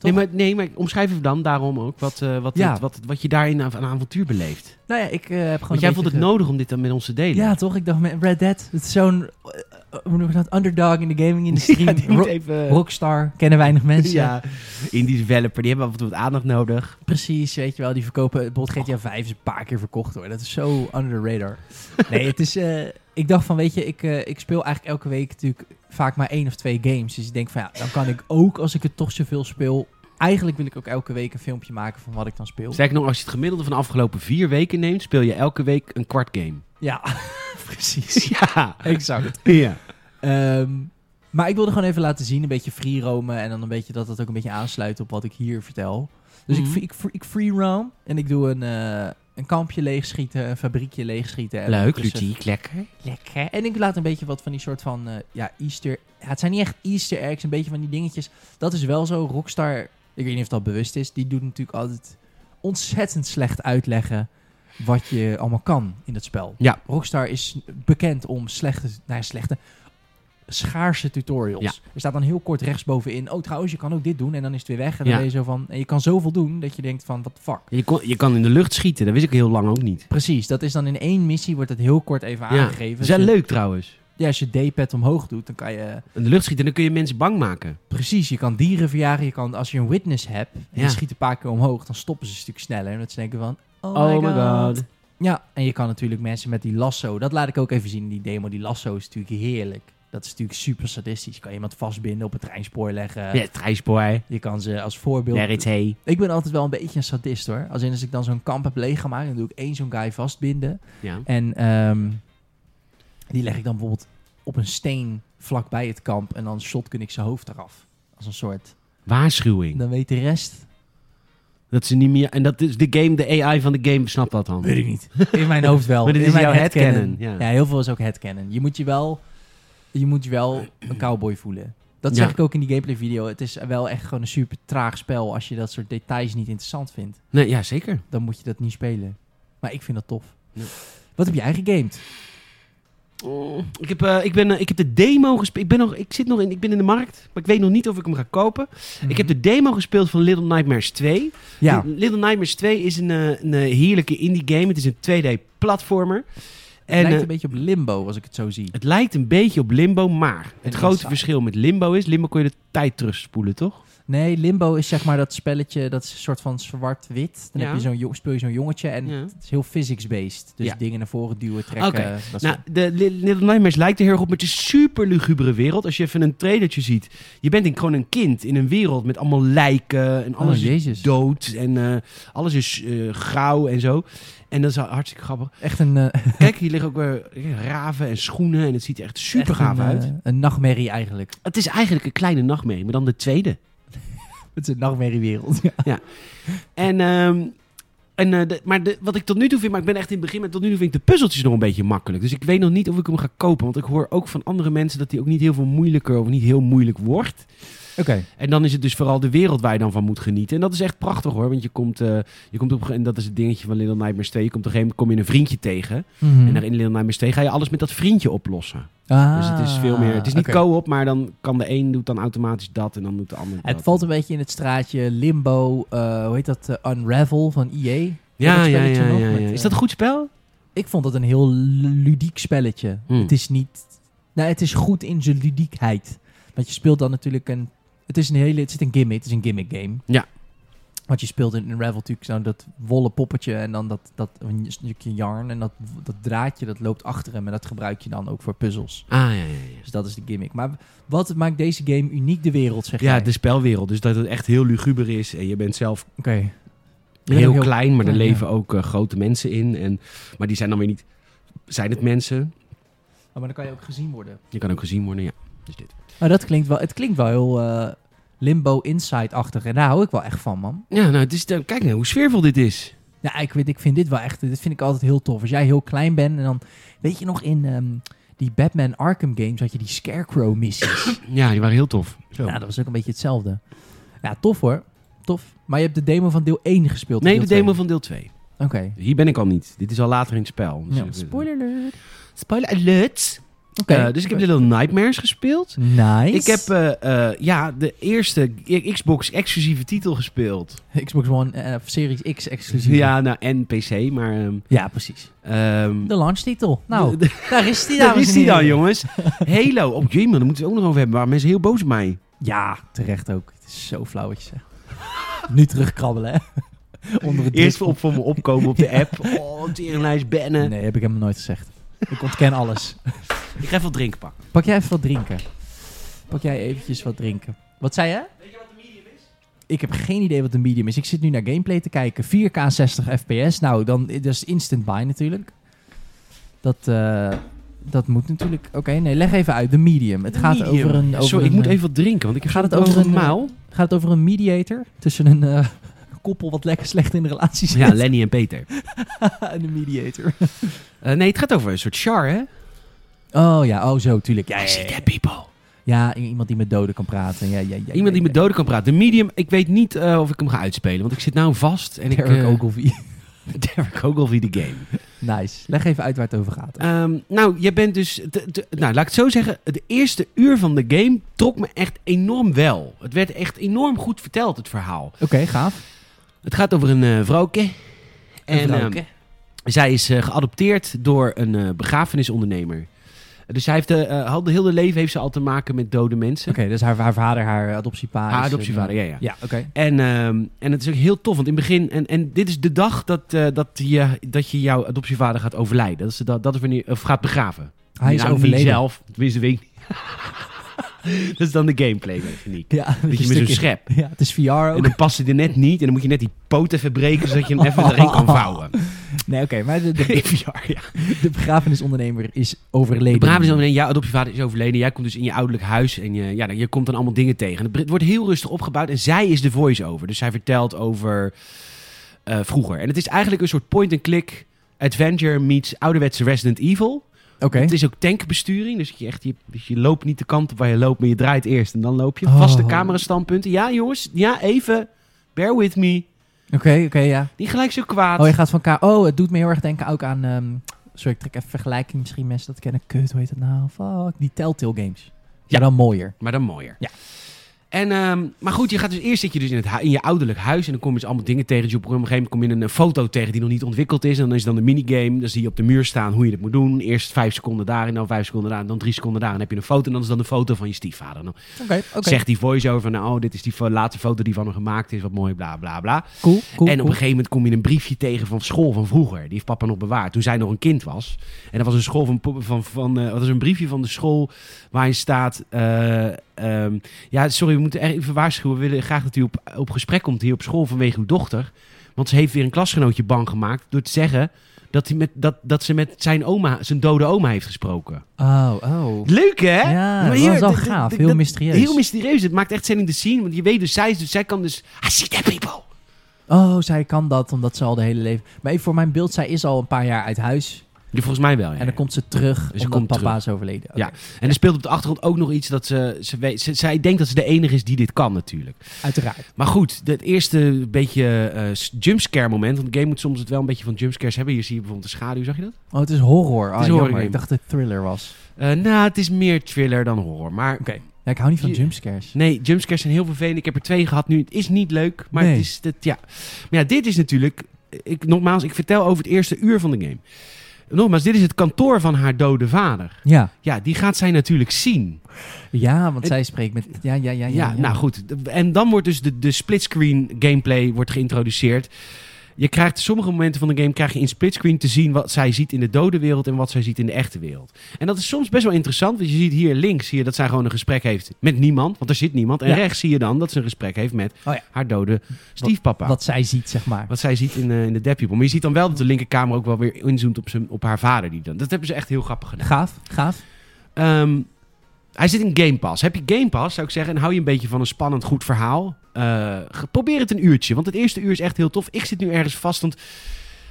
A: Nee
B: Toch?
A: maar, nee, maar omschrijf even dan daarom ook wat, eh, wat,
B: Ja.
A: het- wat, wat je daarin aan, aan avontuur beleeft.
B: Nou ja, ik eh, heb gewoon
A: Want
B: een
A: jij
B: beetje
A: vond het
B: ge-
A: nodig om dit dan met ons te delen.
B: Ja, toch? Ik dacht met Red Dead, het is zo'n eh, eh, hoe noem je dat? underdog in de gaming industrie.
A: Ja, die moet
B: Ro-
A: even...
B: Rockstar, kennen weinig mensen.
A: ja, indie developer, die hebben af en toe wat aandacht nodig.
B: Precies, weet je wel, die verkopen, bijvoorbeeld GTA 5 is een paar keer verkocht hoor. Dat is zo under the radar. Nee, het is, eh, ik dacht van, weet je, ik, eh, ik speel eigenlijk elke week natuurlijk vaak maar één of twee games. Dus ik denk van, ja, dan kan ik ook, als ik het toch zoveel speel, eigenlijk wil ik ook elke week een filmpje maken van wat ik dan speel.
A: Sterker nog, als je het gemiddelde van de afgelopen vier weken neemt, speel je elke week een kwart game.
B: Ja, precies.
A: Ja.
B: Exact.
A: ja.
B: Ehm, maar ik wilde gewoon even laten zien, een beetje free roamen en dan een beetje dat dat ook een beetje aansluit op wat ik hier vertel. Dus
A: Mhm.
B: ik, ik, ik free roam en ik doe een, eh, een kampje leegschieten, een fabriekje leegschieten. En
A: Leuk,
B: ondertussen-
A: ludiek, lekker.
B: Lekker. En ik laat een beetje wat van die soort van, eh, ja, Easter... Ja, het zijn niet echt Easter eggs, een beetje van die dingetjes. Dat is wel zo. Rockstar, ik weet niet of dat bewust is, die doet natuurlijk altijd ontzettend slecht uitleggen wat je allemaal kan in dat spel.
A: Ja.
B: Rockstar is bekend om slechte, nou ja, slechte, schaarse tutorials.
A: Ja.
B: Er staat dan heel kort rechtsbovenin, oh trouwens, je kan ook dit doen en dan is het weer weg. En dan
A: Ja.
B: ben je zo van, en je kan zoveel doen dat je denkt van, wat fuck.
A: Je, kon, je kan in de lucht schieten, dat wist ik heel lang ook niet.
B: Precies, dat is dan in één missie, wordt het heel kort even
A: Ja.
B: aangegeven. Dus
A: Zijn leuk trouwens.
B: Ja, als je D-pad omhoog doet, dan kan je...
A: In de lucht schieten, dan kun je mensen bang maken.
B: Precies, je kan dieren verjagen. Je kan, als je een witness hebt en
A: Ja.
B: je schiet een paar keer omhoog, dan stoppen ze een stuk sneller. Omdat ze denken van, oh, my god. Ja, en je kan natuurlijk mensen met die lasso. Dat laat ik ook even zien in die demo. Die lasso is natuurlijk heerlijk. Dat is natuurlijk super sadistisch. Kan je iemand vastbinden, op een treinspoor leggen.
A: Ja, treinspoor.
B: Je kan ze als voorbeeld...
A: RIT.
B: Ik ben altijd wel een beetje een sadist hoor. Als in als ik dan zo'n kamp heb leeggemaakt, dan doe ik één zo'n guy vastbinden.
A: Ja.
B: En ehm, die leg ik dan bijvoorbeeld op een steen vlakbij het kamp. En dan shotgun ik zijn hoofd eraf. Als een soort...
A: Waarschuwing.
B: Dan weet de rest...
A: Dat ze niet meer... En dat is de game, de AI van de game snapt dat, Han.
B: Weet ik niet. In mijn hoofd wel.
A: Maar dit
B: In
A: is
B: mijn
A: jouw
B: headcanon.
A: headcanon, ja.
B: Ja. heel veel is ook headcanon. Je moet je wel, je moet je wel een cowboy voelen. Dat
A: Ja.
B: zeg ik ook in die gameplay video. Het is wel echt gewoon een super traag spel als je dat soort details niet interessant vindt.
A: Nee, ja, zeker.
B: Dan moet je dat niet spelen. Maar ik vind dat tof.
A: Ja.
B: Wat heb jij gegamed? Oh.
A: Ik heb, eh, ik, ben, eh, ik heb de demo gespeeld. Ik, ben nog, ik zit nog in, ik ben in de markt, maar ik weet nog niet of ik hem ga kopen.
B: Mhm.
A: Ik heb de demo gespeeld van Little Nightmares 2.
B: Ja,
A: Li- Little Nightmares 2 is een, eh, een eh, heerlijke indie game. Het is een 2D-platformer.
B: het
A: En
B: lijkt
A: eh,
B: een beetje op Limbo als ik het zo zie.
A: het lijkt een beetje op Limbo, maar het
B: is
A: grote
B: saai.
A: verschil met Limbo is... Limbo kon je de tijd terugspoelen, toch?
B: Nee, Limbo is zeg maar dat spelletje, dat is een soort van zwart-wit. Dan
A: Ja.
B: heb je zo'n, jong- speel je zo'n jongetje en
A: Ja.
B: het is heel physics-based. Dus
A: Ja.
B: dingen naar voren duwen, trekken.
A: Oké.
B: dat soort-
A: Nou, de Li- Little Nightmares lijkt er heel erg op met een super lugubere wereld. Als je even een trailertje ziet. Je bent in, gewoon een kind in een wereld met allemaal lijken en alles
B: Oh,
A: is
B: jezus.
A: dood. En eh, alles is eh, grauw en zo. En dat is hartstikke grappig.
B: Echt een, eh,
A: Kijk, hier liggen ook weer raven en schoenen. En het ziet er echt super
B: Echt
A: gaaf
B: een,
A: uit.
B: eh, een nachtmerrie eigenlijk.
A: Het is eigenlijk een kleine nachtmerrie, maar dan de tweede.
B: Het is een nachtmerriewereld.
A: En, ehm, en, eh, de- maar de, wat ik tot nu toe vind, maar ik ben echt in het begin, maar tot nu toe vind ik de puzzeltjes nog een beetje makkelijk. Dus ik weet nog niet of ik hem ga kopen. Want ik hoor ook van andere mensen dat die ook niet heel veel moeilijker of niet heel moeilijk wordt.
B: Oké.
A: En dan is het dus vooral de wereld waar je dan van moet genieten. En dat is echt prachtig hoor. Want je komt, eh, je komt op, en dat is het dingetje van Little Nightmares 2. Je komt op een gegeven moment kom je een vriendje tegen.
B: Mhm.
A: En daar in Little Nightmares 2 ga je alles met dat vriendje oplossen.
B: Ah,
A: dus het is veel meer. Het is niet co-op, maar dan kan de een doet dan automatisch dat en dan doet de ander.
B: Het
A: dat.
B: valt een beetje in het straatje Limbo, eh, hoe heet dat, eh, Unravel van EA.
A: Ja,
B: dat
A: ja,
B: spelletje
A: ja,
B: nog
A: ja,
B: met,
A: ja.
B: eh,
A: Is dat een goed spel?
B: Ik vond dat een heel lu- ludiek spelletje.
A: Hmm.
B: Het is niet... Nou, het is goed in zijn ludiekheid. Want je speelt dan natuurlijk een... Het is een hele... Het zit een gimmick. Het is een gimmick game.
A: Ja.
B: Want je speelt in Unravel natuurlijk zo'n dat wollen poppetje en dan dat, dat een stukje yarn. En dat, dat draadje, dat loopt achter hem. En dat gebruik je dan ook voor puzzels.
A: Ah, ja, ja, ja.
B: Dus dat is de gimmick. Maar wat maakt deze game uniek de wereld, zeg
A: Ja,
B: jij?
A: de spelwereld. Dus dat het echt heel luguber is. En je bent zelf
B: Oké. Je bent
A: heel,
B: ook
A: klein, maar er
B: klein, ja.
A: leven ook eh, grote mensen in. En, maar die zijn dan weer niet... Zijn het mensen?
B: Oh, maar dan kan je ook gezien worden.
A: Je kan ook gezien worden, ja. Dus dit.
B: Maar dat klinkt wel... Het klinkt wel heel eh, Limbo Inside-achtig. En daar hou ik wel echt van, man.
A: Ja, nou, het is, de- kijk nou hoe sfeervol dit is.
B: Ja, Nou, ik, weet, ik vind dit wel echt... Dit vind ik altijd heel tof. Als jij heel klein bent en dan... Weet je nog in ehm, die Batman Arkham games had je die Scarecrow-missies.
A: Ja, die waren heel tof. Zo.
B: nou, dat was ook een beetje hetzelfde. Ja, tof hoor. Tof. Maar je hebt de demo van deel 1 gespeeld.
A: nee, de
B: deel
A: demo
B: 2.
A: van deel 2.
B: Oké.
A: Hier ben ik al niet. Dit is al later in het spel. Dus
B: Ja.
A: ik-
B: Spoiler alert.
A: Spoiler alert.
B: Oké.
A: Eh, dus ik heb Little Nightmares gespeeld.
B: Nice.
A: Ik heb eh, eh, ja, de eerste Xbox-exclusieve titel gespeeld.
B: Xbox One eh, of Series X exclusief.
A: Ja, nou, en PC, maar... ehm,
B: ja, precies.
A: ehm,
B: De launchtitel. Nou,
A: de-
B: daar is die
A: Daar
B: dames
A: is
B: en
A: hij dan,
B: heren.
A: jongens. Halo. Op jee, man, daar moeten we het ook nog over hebben. Waar mensen heel boos op mij.
B: Ja, terecht ook. Het is zo flauw wat je zegt. nu terugkrabbelen, hè. Onder het
A: Eerst
B: druk
A: op voor me opkomen op de app. Oh, teringlijst,
B: van-
A: bennen.
B: Nee, heb ik hem nooit gezegd. Ik ontken alles.
A: Ik ga even wat drinken pakken.
B: Pak jij even wat drinken. Pak jij eventjes wat drinken. Wat zei je? Weet je wat de medium is? Ik heb geen idee wat de medium is. Ik zit nu naar gameplay te kijken. 4K 60 fps. Nou, dan, dat is instant buy natuurlijk. Dat, eh, dat moet natuurlijk... Oké, nee, leg even uit. De medium. Het gaat over een... Over
A: Sorry, ik
B: een,
A: moet
B: eh,
A: even wat drinken, want ik heb
B: Gaat
A: zo'n
B: het over
A: droge
B: een, eh,
A: maal.
B: Gaat het over een mediator tussen een eh, koppel wat lekker slecht in de relatie zit
A: Ja, Lenny en Peter.
B: en een mediator.
A: Eh, nee, het gaat over een soort char, hè?
B: Oh ja, oh zo, tuurlijk. Ja,
A: I see
B: ja, ja.
A: dead people.
B: Ja, i- iemand die met doden kan praten. Ja, ja, ja,
A: Iemand die
B: ja,
A: met doden kan praten. De medium, ik weet niet eh, of ik hem ga uitspelen, want ik zit nou vast. En
B: ja.
A: ik,
B: Derek
A: eh,
B: Ogilvy.
A: Derek Ogilvy de game.
B: Nice. Leg even uit waar het over gaat.
A: Ehm, nou, je bent dus. te- te- nou, laat ik het zo zeggen. De eerste uur van de game trok me echt enorm wel. Het werd echt enorm goed verteld, het verhaal.
B: Oké, gaaf.
A: Het gaat over een eh vrouwke. En
B: Een
A: ehm, zij is eh, geadopteerd door een eh, begrafenisondernemer. Dus zij heeft, eh, eh, al de hele leven heeft ze al te maken met dode mensen.
B: Oké, dus haar, haar vader, haar adoptiepa.
A: Haar
B: is- eh,
A: adoptievader, ja, ja.
B: Ja, oké.
A: En, ehm, en het is ook heel tof, want in het begin... En, en dit is de dag dat, eh, dat, je, dat je jouw adoptievader gaat overlijden. Dat is, de dag- dat is wanneer... Of gaat begraven.
B: Hij is
A: Nou, niet
B: overleden.
A: zelf. Tenminste, weet ik niet. dat is dan de gameplay mechaniek.
B: Ja, dat
A: Dat je
B: je
A: met zo'n
B: stukje-
A: schep...
B: Ja, het is VR
A: En
B: ook.
A: dan past hij er net niet. En dan moet je net die poot even breken, zodat je hem even erin kan vouwen.
B: Nee, oké, maar de, de,
A: In VR, ja.
B: de begrafenisondernemer is overleden.
A: De Brabant is overleden, jouw adoptievader is overleden. Jij komt dus in je ouderlijk huis en je, ja, je komt dan allemaal dingen tegen. En Het wordt heel rustig opgebouwd en zij is de voice-over. Dus zij vertelt over eh, vroeger. En het is eigenlijk een soort point-and-click adventure meets ouderwetse Resident Evil.
B: Oké.
A: Het is ook tankbesturing, dus je, echt, je, dus je loopt niet de kant op waar je loopt, maar je draait eerst en dan loop je.
B: Oh.
A: Vaste camerastandpunten. Ja, jongens, ja, even, bear with me.
B: Oké, oké, ja.
A: Niet gelijk zo kwaad.
B: Oh, je gaat van elkaar... Oh, het doet me heel erg denken ook aan... ehm, sorry, ik trek even vergelijking. Misschien mensen dat kennen. Kut, hoe heet dat nou? Fuck. Die Telltale games. Ja,
A: Ja.
B: dan mooier.
A: Maar dan mooier.
B: Ja.
A: En, ehm, maar goed, je gaat dus eerst zit je dus in, het hu- in je ouderlijk huis en dan kom je dus allemaal dingen tegen. Dus op een gegeven moment kom je een eh, foto tegen die nog niet ontwikkeld is. En dan is dan de minigame. Dan zie je op de muur staan hoe je dat moet doen. Eerst vijf seconden daar en dan vijf seconden daar en dan drie seconden daar. En dan heb je een foto en dan is dan de foto van je stiefvader. En Dan
B: Oké, oké.
A: zegt die voice-over van nou, oh, dit is die fo- laatste foto die van hem gemaakt is. Wat mooi, bla bla bla.
B: Cool,
A: en op
B: cool, cool.
A: een gegeven moment kom je een briefje tegen van school van vroeger. Die heeft papa nog bewaard toen zij nog een kind was. En dat was een, school van, po- van, van, eh, dat is een briefje van de school waarin staat... eh, ehm, ja, sorry, we moeten echt even waarschuwen. We willen graag dat u op, op gesprek komt hier op school vanwege uw dochter. Want ze heeft weer een klasgenootje bang gemaakt door te zeggen... Dat, hij met, dat, dat ze met zijn oma, zijn dode oma heeft gesproken.
B: Oh, oh.
A: Leuk, hè?
B: Ja,
A: Maar
B: dat
A: hier-
B: was wel
A: d- d-
B: gaaf.
A: d-
B: Heel
A: dat-
B: mysterieus.
A: Heel mysterieus. Het maakt echt zin in de scene. Want je weet dus, zij, is dus, zij kan dus... I see that people.
B: Oh, zij kan dat omdat ze al de hele leven... Maar even voor mijn beeld, zij is al een paar jaar uit huis.
A: Ja, volgens mij wel, ja.
B: En dan komt ze terug
A: Dus ze
B: omdat
A: komt
B: papa
A: terug.
B: is overleden. Oké.
A: Ja. En er speelt op de achtergrond ook nog iets dat ze, ze, weet- ze- Zij denkt dat ze de enige is die dit kan, natuurlijk.
B: Uiteraard.
A: Maar goed, het eerste beetje eh, s- jumpscare moment. Want de game moet soms het wel een beetje van jumpscares hebben. Hier zie je bijvoorbeeld de schaduw, zag je dat?
B: Oh, het is horror. Ah,
A: is een horror
B: jammer.
A: game.
B: Ik dacht dat het thriller was.
A: Eh, nou, het is meer thriller dan horror. Maar
B: Oké. Ja, ik hou niet van
A: Je-
B: jumpscares.
A: nee, jumpscares zijn heel vervelend. Ik heb er twee gehad nu. Het is niet leuk, maar
B: Nee.
A: het is... Het, ja. Maar ja, dit is natuurlijk... Ik, nogmaals, ik vertel over het eerste uur van de game. Nogmaals, dit is het kantoor van haar dode vader.
B: Ja.
A: Ja, die gaat zij natuurlijk zien.
B: Ja, want
A: Het-
B: zij spreekt met... Ja, ja, ja. Ja,
A: Ja, nou goed. De- En dan wordt dus de, de splitscreen gameplay wordt geïntroduceerd. Je krijgt sommige momenten van de game krijg je in splitscreen te zien wat zij ziet in de dode wereld en wat zij ziet in de echte wereld. En dat is soms best wel interessant, want je ziet hier links zie je dat zij gewoon een gesprek heeft met niemand, want er zit niemand. En
B: Ja.
A: rechts zie je dan dat ze een gesprek heeft met
B: Oh ja.
A: haar dode stiefpapa. Wat,
B: Wat zij ziet, zeg maar.
A: zij ziet in, eh, in de Dead People. Maar je ziet dan wel dat de linkerkamer ook wel weer inzoomt op, zijn, op haar vader. Die dan, dat hebben ze echt heel grappig gedaan.
B: Gaaf, gaaf.
A: Ehm, hij zit in Game Pass. Heb je Game Pass, zou ik zeggen, en hou je een beetje van een spannend, goed verhaal? eh, ge- probeer het een uurtje, want het eerste uur is echt heel tof. Ik zit nu ergens vast, want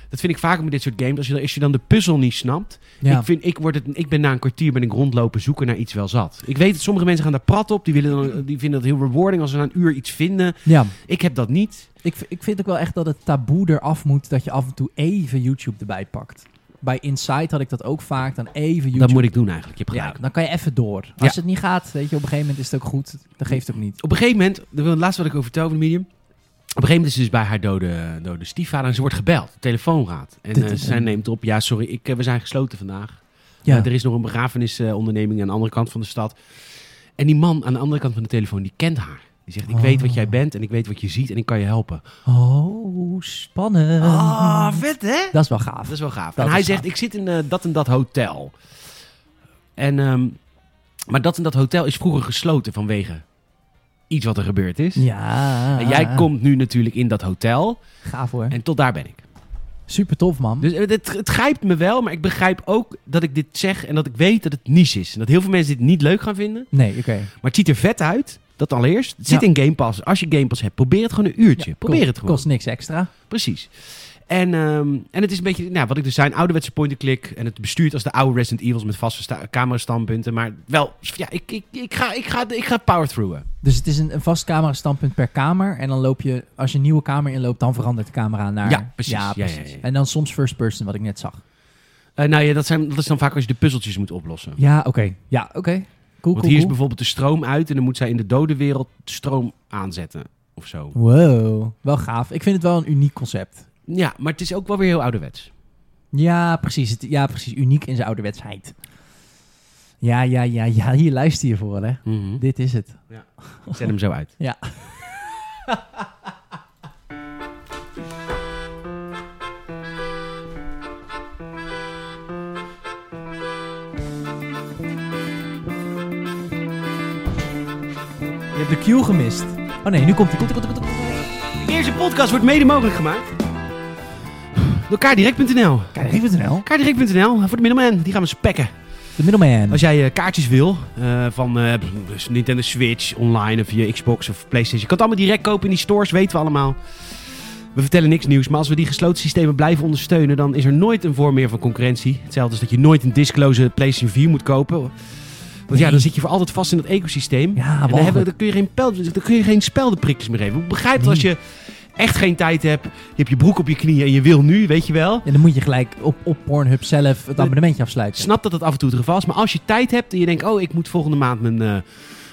A: dat vind ik vaker met dit soort games. Als je dan, als je dan de puzzel niet snapt,
B: Ja.
A: ik, vind, ik, word het, ik ben na een kwartier ben ik rondlopen zoeken naar iets wel zat. Ik weet dat sommige mensen gaan daar prat op, die, willen dan, die vinden dat heel rewarding als ze na een uur iets vinden.
B: ja.
A: Ik heb dat niet.
B: Ik, v- ik vind ook wel echt dat het taboe eraf moet dat je af en toe even YouTube erbij pakt. Bij Inside had ik dat ook vaak, dan even YouTube.
A: Dat moet ik doen eigenlijk, je hebt
B: ja,
A: gelijk.
B: dan kan je even door. Als
A: Ja.
B: het niet gaat, weet je, op een gegeven moment is het ook goed. Dan geeft het ook niet.
A: Op een gegeven moment, dat wil het laatste wat ik over vertel over de medium. Op een gegeven moment is ze dus bij haar dode, dode stiefvader en ze wordt gebeld. De telefoon gaat. En
B: Dit
A: eh,
B: is
A: zij
B: een-
A: neemt op. Ja, sorry, ik, eh, we zijn gesloten vandaag.
B: Ja,
A: Eh, er is nog een begrafenisonderneming aan de andere kant van de stad. En die man aan de andere kant van de telefoon, die kent haar. Die zegt, ik
B: Oh.
A: weet wat jij bent en ik weet wat je ziet en ik kan je helpen.
B: Oh, spannend.
A: Ah, vet hè?
B: Dat is wel gaaf.
A: Dat is wel gaaf.
B: Dat
A: en
B: is
A: hij
B: gaaf.
A: zegt, ik zit in eh, dat en dat hotel. En, ehm, maar dat en dat hotel is vroeger gesloten vanwege iets wat er gebeurd is.
B: Ja.
A: En jij komt nu natuurlijk in dat hotel.
B: Gaaf hoor.
A: En tot daar ben ik.
B: Super tof, man.
A: Dus eh, het, het grijpt me wel, maar ik begrijp ook dat ik dit zeg en dat ik weet dat het niche is. En dat heel veel mensen dit niet leuk gaan vinden.
B: Nee, oké.
A: Maar het ziet er vet uit. Dat allereerst. Het zit
B: Ja.
A: in Game Pass. Als je Game Pass hebt, probeer het gewoon een uurtje.
B: Ja,
A: probeer
B: kost-
A: het gewoon.
B: Kost niks extra.
A: Precies. En, ehm, en het is een beetje, nou, wat ik dus zei, een ouderwetse point-and-click. En het bestuurt als de oude Resident Evils met vaste sta- camerastandpunten. Maar wel, ja, ik, ik, ik ga, ik ga, ik ga power-throughen.
B: Dus het is een, een vast camerastandpunt per kamer. En dan loop je, als je een nieuwe kamer inloopt, dan verandert de camera naar...
A: Ja, precies. Ja, ja, ja.
B: En dan soms first person, wat ik net zag.
A: Eh, nou ja, dat, zijn, dat is dan vaak als je de puzzeltjes moet oplossen.
B: Ja, oké. Ja, oké. Cool,
A: Want
B: cool,
A: hier is
B: cool.
A: bijvoorbeeld de stroom uit en dan moet zij in de dode wereld stroom aanzetten of zo.
B: Wow, wel gaaf. Ik vind het wel een uniek concept.
A: Ja, maar het is ook wel weer heel ouderwets.
B: Ja, precies. Het, ja, precies. Uniek in zijn ouderwetsheid. Ja, ja, ja, ja. Hier luister je voor, hè.
A: Mhm.
B: Dit is het.
A: Ik Zet hem zo uit.
B: Ja. Je hebt de cue gemist. Oh nee, nu komt hij. Komt, die, komt, die, komt, die, komt.
A: De eerste podcast wordt mede mogelijk gemaakt door kaardirect.nl.
B: Kijk, even
A: nou?
B: snel.
A: Kaardirect.nl voor de middelman, die gaan we spekken.
B: De middleman.
A: Als jij eh, kaartjes wil eh, van eh, dus Nintendo Switch online of via Xbox of PlayStation, je kan het allemaal direct kopen in die stores, weten we allemaal. We vertellen niks nieuws, maar als we die gesloten systemen blijven ondersteunen, dan is er nooit een vorm meer van concurrentie. Hetzelfde als dat je nooit een discloze PlayStation 4 moet kopen. Want ja,
B: Nee.
A: dan zit je voor altijd vast in dat ecosysteem. En
B: Ja,
A: dan, hebben,
B: walgelijk.
A: dan kun je geen, pel, dan kun je geen speldenprikjes meer geven. Ik begrijp dat als
B: Nee.
A: je echt geen tijd hebt, je hebt je broek op je knieën en je wil nu, weet je wel.
B: En dan moet je gelijk op, op Pornhub zelf het abonnementje afsluiten.
A: snap dat dat af en toe het geval is. Maar als je tijd hebt en je denkt, oh, ik moet volgende maand mijn eh,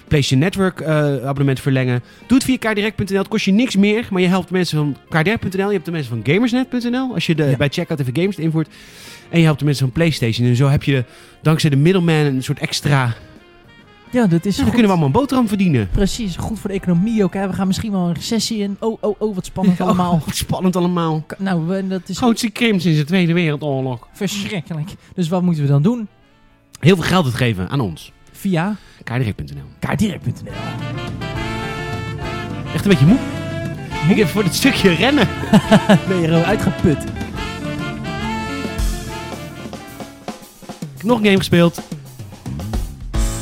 A: PlayStation Network eh, abonnement verlengen. Doe het via kaardirect.nl. Het kost je niks meer, maar je helpt mensen van kaardirect.nl. Je hebt de mensen van gamersnet.nl. Als je de,
B: Ja.
A: bij checkout even games invoert. En je helpt de mensen van PlayStation. En zo heb je dankzij de middleman een soort extra...
B: Ja, dat is
A: Dan
B: goed.
A: kunnen we allemaal een boterham verdienen.
B: Precies, goed voor de economie ook. Hè. We gaan misschien wel een recessie in. Oh, oh, oh, wat spannend
A: Oh,
B: allemaal.
A: wat spannend allemaal.
B: K- Nou, we- dat is
A: Grootste krimp sinds de Tweede Wereldoorlog.
B: verschrikkelijk. Dus wat moeten we dan doen?
A: Heel veel geld uitgeven aan ons.
B: Via
A: Kaardirect.nl.
B: kaartdirect.nl.
A: Echt een beetje moe. Ik heb voor dit stukje rennen.
B: Ben je er al uitgeput?
A: Ik heb nog een game gespeeld.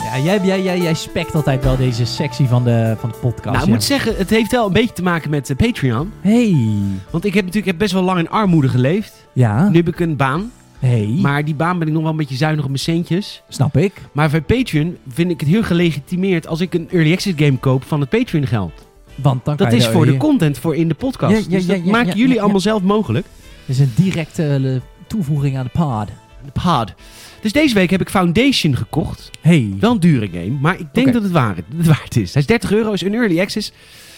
B: Ja, jij, jij, jij, jij spekt altijd wel deze sectie van de, van de podcast.
A: Nou, ik
B: ja.
A: moet zeggen, het heeft wel een beetje te maken met eh, Patreon.
B: Hey.
A: Want ik heb natuurlijk ik heb best wel lang in armoede geleefd.
B: Ja.
A: Nu heb ik een baan.
B: Hey.
A: Maar die baan ben ik nog wel een beetje zuinig op mijn centjes.
B: Snap ik.
A: Maar bij Patreon vind ik het heel gelegitimeerd als ik een early access game koop van het Patreon geld.
B: Want dan
A: Dat
B: kan je
A: is
B: er-
A: voor de
B: hier-
A: content, voor in de podcast.
B: Ja, ja,
A: dus dat
B: ja, ja,
A: maken
B: ja,
A: jullie
B: ja,
A: allemaal zelf mogelijk.
B: Dat is een directe eh, toevoeging aan de pod.
A: Hard. Dus deze week heb ik Foundation gekocht.
B: Hey.
A: Wel een dure game, maar ik denk
B: Oké.
A: dat het waard, het waard is. Hij is 30 euro, is een early access.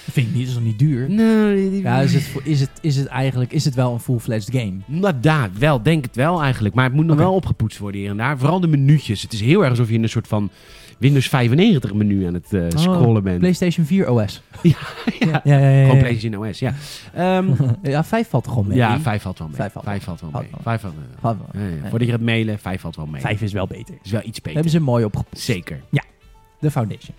B: Dat vind ik niet, dat is nog niet duur.
A: Nou, die-
B: Ja, is het, voor- is, het, is het eigenlijk is het wel een full-fledged game?
A: Nou, daar wel, denk het wel eigenlijk. Maar het moet nog
B: Oké.
A: wel opgepoetst worden hier en daar. Vooral de menu'tjes. Het is heel erg alsof je in een soort van Windows 95 menu aan het eh, scrollen bent.
B: PlayStation 4 OS.
A: Ja,
B: Oh, ja, ja. ja, ja.
A: Gewoon PlayStation OS, ja. Ehm,
B: ja, 5 valt er gewoon mee.
A: ja, 5 valt wel mee.
B: Vijf valt
A: Vijf valt wel
B: Valt
A: mee.
B: wel.
A: Vijf valt, eh,
B: Vijf-
A: eh,
B: Nee.
A: Voordat je gaat mailen, vijf valt wel mee.
B: Vijf is wel beter.
A: is wel iets beter.
B: Hebben ze mooi opgepoetst.
A: Zeker.
B: De Foundation.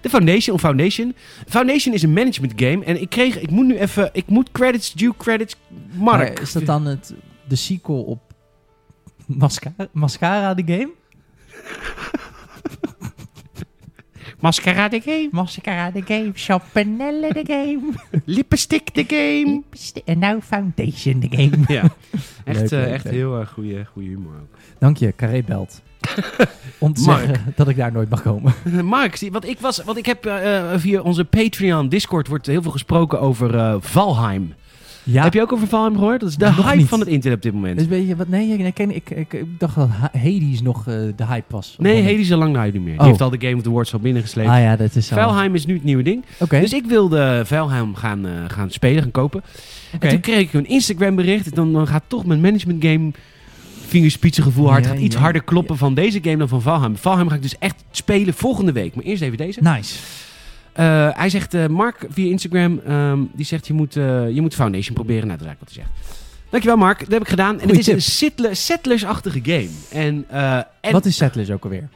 A: De Foundation, of Foundation. Foundation is een management game. En ik kreeg, ik moet nu even, ik moet credits, due credits, Mark.
B: Maar is dat dan het, de sequel op Mascara, Mascara de game?
A: Mascara the game.
D: Mascara the game, Champanelle the game,
A: Lippenstick the game.
D: en nou Foundation the game.
A: Ja, echt, eh,
B: Leuk, leuk,
A: echt
B: leuk.
A: heel erg goede humor ook.
B: Dank je, Carré belt. Om te
A: Mark.
B: zeggen dat ik daar nooit mag komen.
A: Mark, zie- wat ik, was, wat ik heb eh, eh, via onze Patreon Discord wordt heel veel gesproken over eh, Valheim.
B: Ja,
A: Heb je ook over Valheim gehoord? Dat is de
B: Nog
A: hype
B: niet.
A: van het internet op dit moment.
B: dus weet je wat? Nee, ik, ken- ik, ik, ik dacht dat Ha- Hades nog eh, de hype was. Op
A: nee,
B: het
A: Hades is al lang naar niet meer. Die
B: Oh.
A: heeft al de Game of the Awards al binnengesleept.
B: moment. Ah ja, dat is zo.
A: Valheim is nu het nieuwe ding.
B: Oké.
A: Dus ik wilde Valheim gaan, eh, gaan spelen, gaan kopen.
B: Oké.
A: En toen kreeg ik een Instagram bericht. Dan, dan gaat toch mijn management game vingerspitsengevoel hard.
B: Ja,
A: gaat iets
B: ja,
A: harder kloppen van deze game dan van Valheim. Valheim ga ik dus echt spelen volgende week. Maar eerst even deze.
B: Nice.
A: Eh, hij zegt, eh, Mark via Instagram, ehm, die zegt je moet, eh, je moet Foundation proberen. Nou, dat is eigenlijk wat hij zegt. Dankjewel Mark, dat heb ik gedaan. En
B: Goeie
A: het is
B: tip.
A: een Sittler- Settlers-achtige game. En, eh, en
B: Wat is Settlers ook alweer?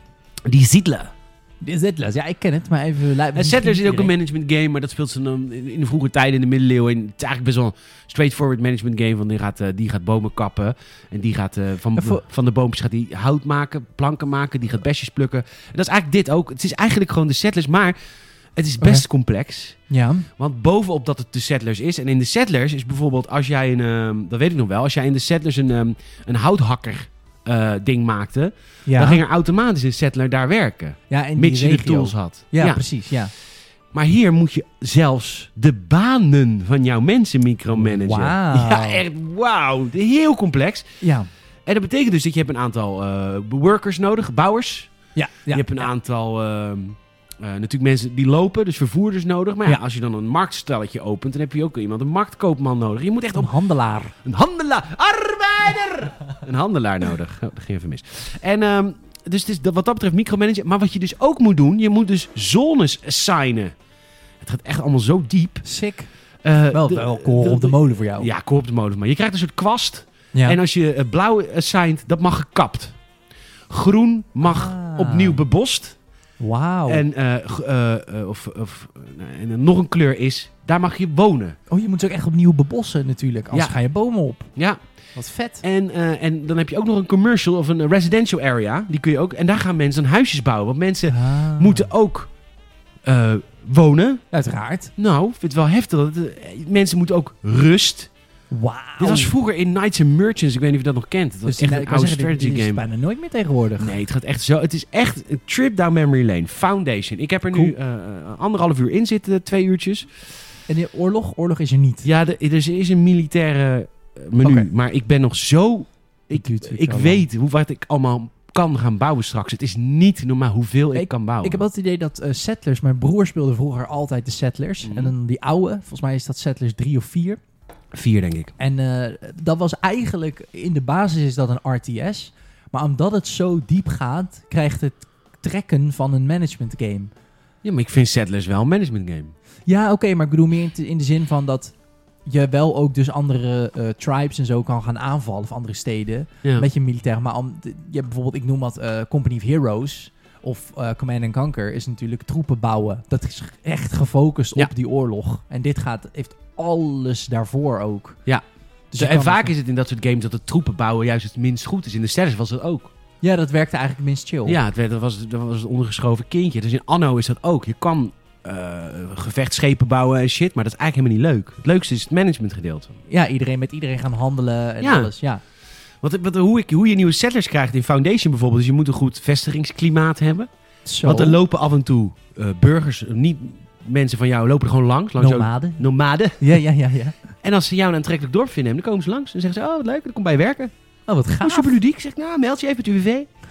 A: die Zittler.
B: Dit is Settlers, ja, ik ken het, maar even... lu-
A: En Settlers Eh, is ook een
B: iedereen-
A: management game, maar dat speelt ze dan in in de vroege tijden in de middeleeuwen. En het is eigenlijk best wel een straightforward management game. Want die gaat, eh, die gaat bomen kappen. En die gaat eh, van,
B: En voor-
A: van de boompjes gaat die hout maken, planken maken. Die gaat besjes plukken. En dat is eigenlijk dit ook. Het is eigenlijk gewoon de Settlers, maar het is best complex.
B: Ja.
A: Want bovenop dat het de Settlers is. En in de Settlers is bijvoorbeeld als jij een. ehm, dat weet ik nog wel. Als jij in de Settlers een, ehm, een houthakker. eh, ding maakte,
B: ja.
A: dan ging er automatisch een settler daar werken.
B: ja, en
A: mits
B: die
A: je de
B: regio.
A: tools had.
B: Ja,
A: Ja.
B: precies, ja.
A: Maar hier moet je zelfs de banen van jouw mensen micromanagen.
B: Wauw.
A: Ja, echt wauw. Heel complex.
B: Ja.
A: En dat betekent dus dat je hebt een aantal eh, workers nodig, bouwers.
B: Ja, ja.
A: Je hebt een aantal ehm, eh, natuurlijk mensen die lopen, dus vervoerders nodig. Maar ja,
B: Ja.
A: als je dan een marktstelletje opent, dan heb je ook iemand, een marktkoopman nodig. Je moet echt
B: een
A: op
B: handelaar.
A: een handelaar, arbeider, een handelaar nodig. Oh, dat ging even mis. En ehm, dus het is dat- wat dat betreft micromanagen. Maar wat je dus ook moet doen, je moet dus zones assignen. Het gaat echt allemaal zo diep.
B: Sick.
A: Eh,
B: Wel,
A: de-
B: wel koren op de molen voor jou.
A: Ja, kool op de molen. Maar je krijgt een soort kwast.
B: Ja.
A: En als je eh, blauw assignt, dat mag gekapt. Groen mag
B: Ah.
A: opnieuw bebost.
B: Wauw.
A: En, eh, g- eh, eh, of, of, nou, en dan nog een kleur is, daar mag je wonen.
B: Oh, je moet ze ook echt opnieuw bebossen natuurlijk. Anders
A: Ja.
B: gaan je bomen op.
A: Ja,
B: Wat vet.
A: en, eh, en dan heb je ook nog een commercial of een residential area. Die kun je ook, en daar gaan mensen dan huisjes bouwen. Want mensen
B: Ah.
A: moeten ook eh, wonen.
B: Uiteraard.
A: Nou, ik vind het wel heftig. Dat het, eh, mensen moeten ook rust.
B: Wauw.
A: Dit was vroeger in Knights and Merchants. Ik weet niet of je dat nog kent. Dat was
B: Oh. Dus die-
A: echt
B: ik
A: een
B: wou
A: oude
B: zeggen, dit-
A: strategy
B: dit is
A: game.
B: bijna nooit meer tegenwoordig.
A: Nee, het gaat echt zo. Het is echt een trip down memory lane. Foundation. Ik heb er nu eh, anderhalf uur in zitten, twee uurtjes.
B: En de oorlog? Oorlog is er niet.
A: Ja, de- er is een militaire eh, menu,
B: Oké.
A: maar ik ben nog zo... Ik,
B: duurt natuurlijk
A: ik
B: wel
A: weet hoe wat ik allemaal kan gaan bouwen straks. Het is niet normaal hoeveel ik,
B: Ik-
A: kan bouwen.
B: Ik heb altijd het idee dat eh, Settlers... Mijn broer speelde vroeger altijd de Settlers.
A: Mhm.
B: En dan die oude. Volgens mij is dat Settlers 3 of 4.
A: Vier, denk ik.
B: En eh, dat was eigenlijk... In de basis is dat een RTS. Maar omdat het zo diep gaat... krijgt het trekken van een management game.
A: Ja, maar ik vind Settlers wel een management game.
B: Ja, oké, maar ik bedoel meer in, te- in de zin van dat je wel ook dus andere eh, tribes en zo kan gaan aanvallen of andere steden
A: Ja.
B: met je militair. Maar om, je hebt bijvoorbeeld, ik noem wat eh, Company of Heroes of eh, Command and Conquer is natuurlijk troepen bouwen. Dat is echt gefocust
A: Ja.
B: op die oorlog. En dit gaat heeft alles daarvoor ook.
A: Ja.
B: Dus
A: Zo,
B: je
A: en
B: kan-
A: vaak is het in dat soort games dat het troepen bouwen juist het minst goed is. In de Settlers was dat ook.
B: Ja, dat werkte eigenlijk minst chill.
A: Ja, het werd, dat, was, dat was het ondergeschoven kindje. Dus in Anno is dat ook. Je kan eh, gevechtsschepen bouwen en shit, maar dat is eigenlijk helemaal niet leuk. Het leukste is het managementgedeelte.
B: Ja, iedereen met iedereen gaan handelen en
A: Ja.
B: alles. Ja.
A: Want wat, hoe, ik, hoe je nieuwe settlers krijgt in Foundation bijvoorbeeld, is je moet een goed vestigingsklimaat hebben.
B: Zo.
A: Want er lopen af en toe eh, burgers, niet mensen van jou, lopen er gewoon langs. langs jouw-
B: Nomaden.
A: nomaden.
B: Ja, ja, ja, ja.
A: En als ze jou een aantrekkelijk dorp vinden, dan komen ze langs en zeggen ze, oh wat leuk, dan kom bij je werken.
B: Oh, wat
A: Oh,
B: gaaf.
A: super ludiek. Zeg ik, nou meld je even het UWV.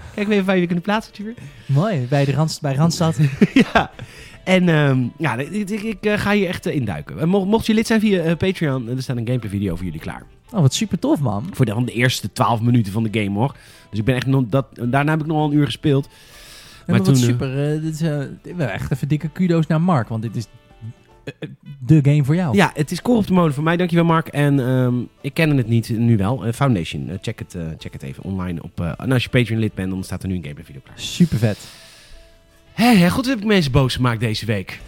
A: Kijken we even waar jullie kunnen plaatsen natuurlijk.
B: Mooi. Bij, de Randst, bij Randstad.
A: ja. En ehm, ja, ik, ik, ik, eh, ga hier echt eh, induiken. En mo- mocht je lid zijn via eh, Patreon, eh, er staat een gameplay video voor jullie klaar.
B: Oh, wat super tof, man.
A: Voor de, van de eerste 12 minuten van de game hoor. Dus ik ben echt nog, dat, daarna heb ik nog wel een uur gespeeld.
B: Ja,
A: Maar
B: maar, wat
A: toen, eh,
B: super. eh, dit is eh, dit- wel echt even dikke kudo's naar Mark, want dit is eh, de game voor jou.
A: Ja, het is kool op de molen voor mij. Dankjewel, Mark. En ehm, ik kende het niet, nu wel. Eh, Foundation, eh, check, het, eh, check het even online. Op, eh, en als je Patreon-lid bent, dan staat er nu een gameplay video klaar.
B: Super vet.
A: Hé, hé, goed heb ik mensen boos gemaakt deze week.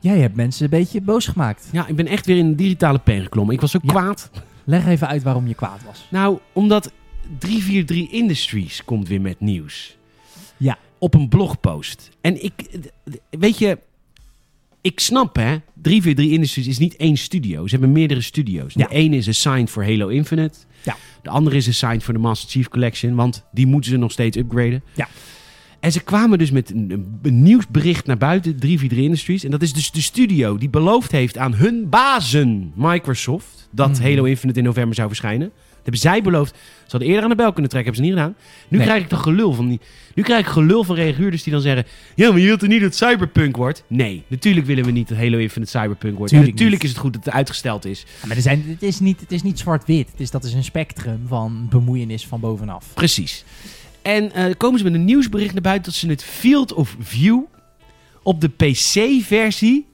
B: Jij hebt mensen een beetje boos gemaakt.
A: Ja, ik ben echt weer in de digitale pen geklommen. Ik was zo
B: Ja.
A: kwaad.
B: Leg even uit waarom je kwaad was.
A: Nou, omdat 343 Industries komt weer met nieuws.
B: Ja.
A: Op een blogpost. En ik, d- d- weet je, ik snap hè, 343 Industries is niet één studio. Ze hebben meerdere studio's.
B: Ja.
A: De ene is assigned voor Halo Infinite.
B: Ja.
A: De andere is assigned voor de Master Chief Collection, want die moeten ze nog steeds upgraden.
B: Ja.
A: En ze kwamen dus met een, een- een nieuwsbericht naar buiten, 343 Industries. En dat is dus de studio die beloofd heeft aan hun bazen, Microsoft, dat
B: Mhm.
A: Halo Infinite in november zou verschijnen. Dat hebben zij beloofd. Ze hadden eerder aan de bel kunnen trekken, hebben ze niet gedaan. Nu
B: Nee.
A: krijg ik de gelul van die. Nu krijg ik gelul van reaguurders die dan zeggen: Ja, maar je wilt er niet dat Cyberpunk wordt? Nee, natuurlijk willen we niet dat Halo Infinite Cyberpunk wordt. En
B: Tuurlijk
A: natuurlijk
B: niet.
A: is het goed dat het uitgesteld is.
B: Ja, maar er zijn, het is niet, het is niet zwart-wit. Het is, dat is een spectrum van bemoeienis van bovenaf.
A: Precies. En eh, komen ze met een nieuwsbericht naar buiten dat ze het Field of View op de PC-versie.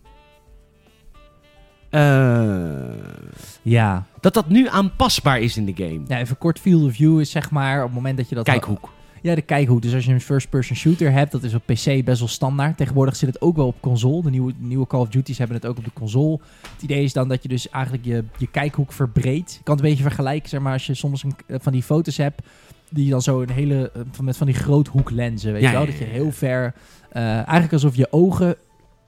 B: Ja.
A: eh, dat dat nu aanpasbaar is in de game.
B: ja. Even kort field of view is zeg maar op het moment dat je dat...
A: Kijkhoek.
B: Ja, de kijkhoek. Dus als je een first-person shooter hebt, dat is op PC best wel standaard. Tegenwoordig zit het ook wel op console. De nieuwe, nieuwe Call of Duty's hebben het ook op de console. Het idee is dan dat je dus eigenlijk je, je kijkhoek verbreedt. Je kan het een beetje vergelijken, zeg maar, als je soms een, eh, van die foto's hebt... die je dan zo een hele... eh, van- met van die groothoeklenzen, weet
A: Ja,
B: je wel?
A: ja,
B: Dat je
A: ja,
B: heel ver... eh, eigenlijk alsof je ogen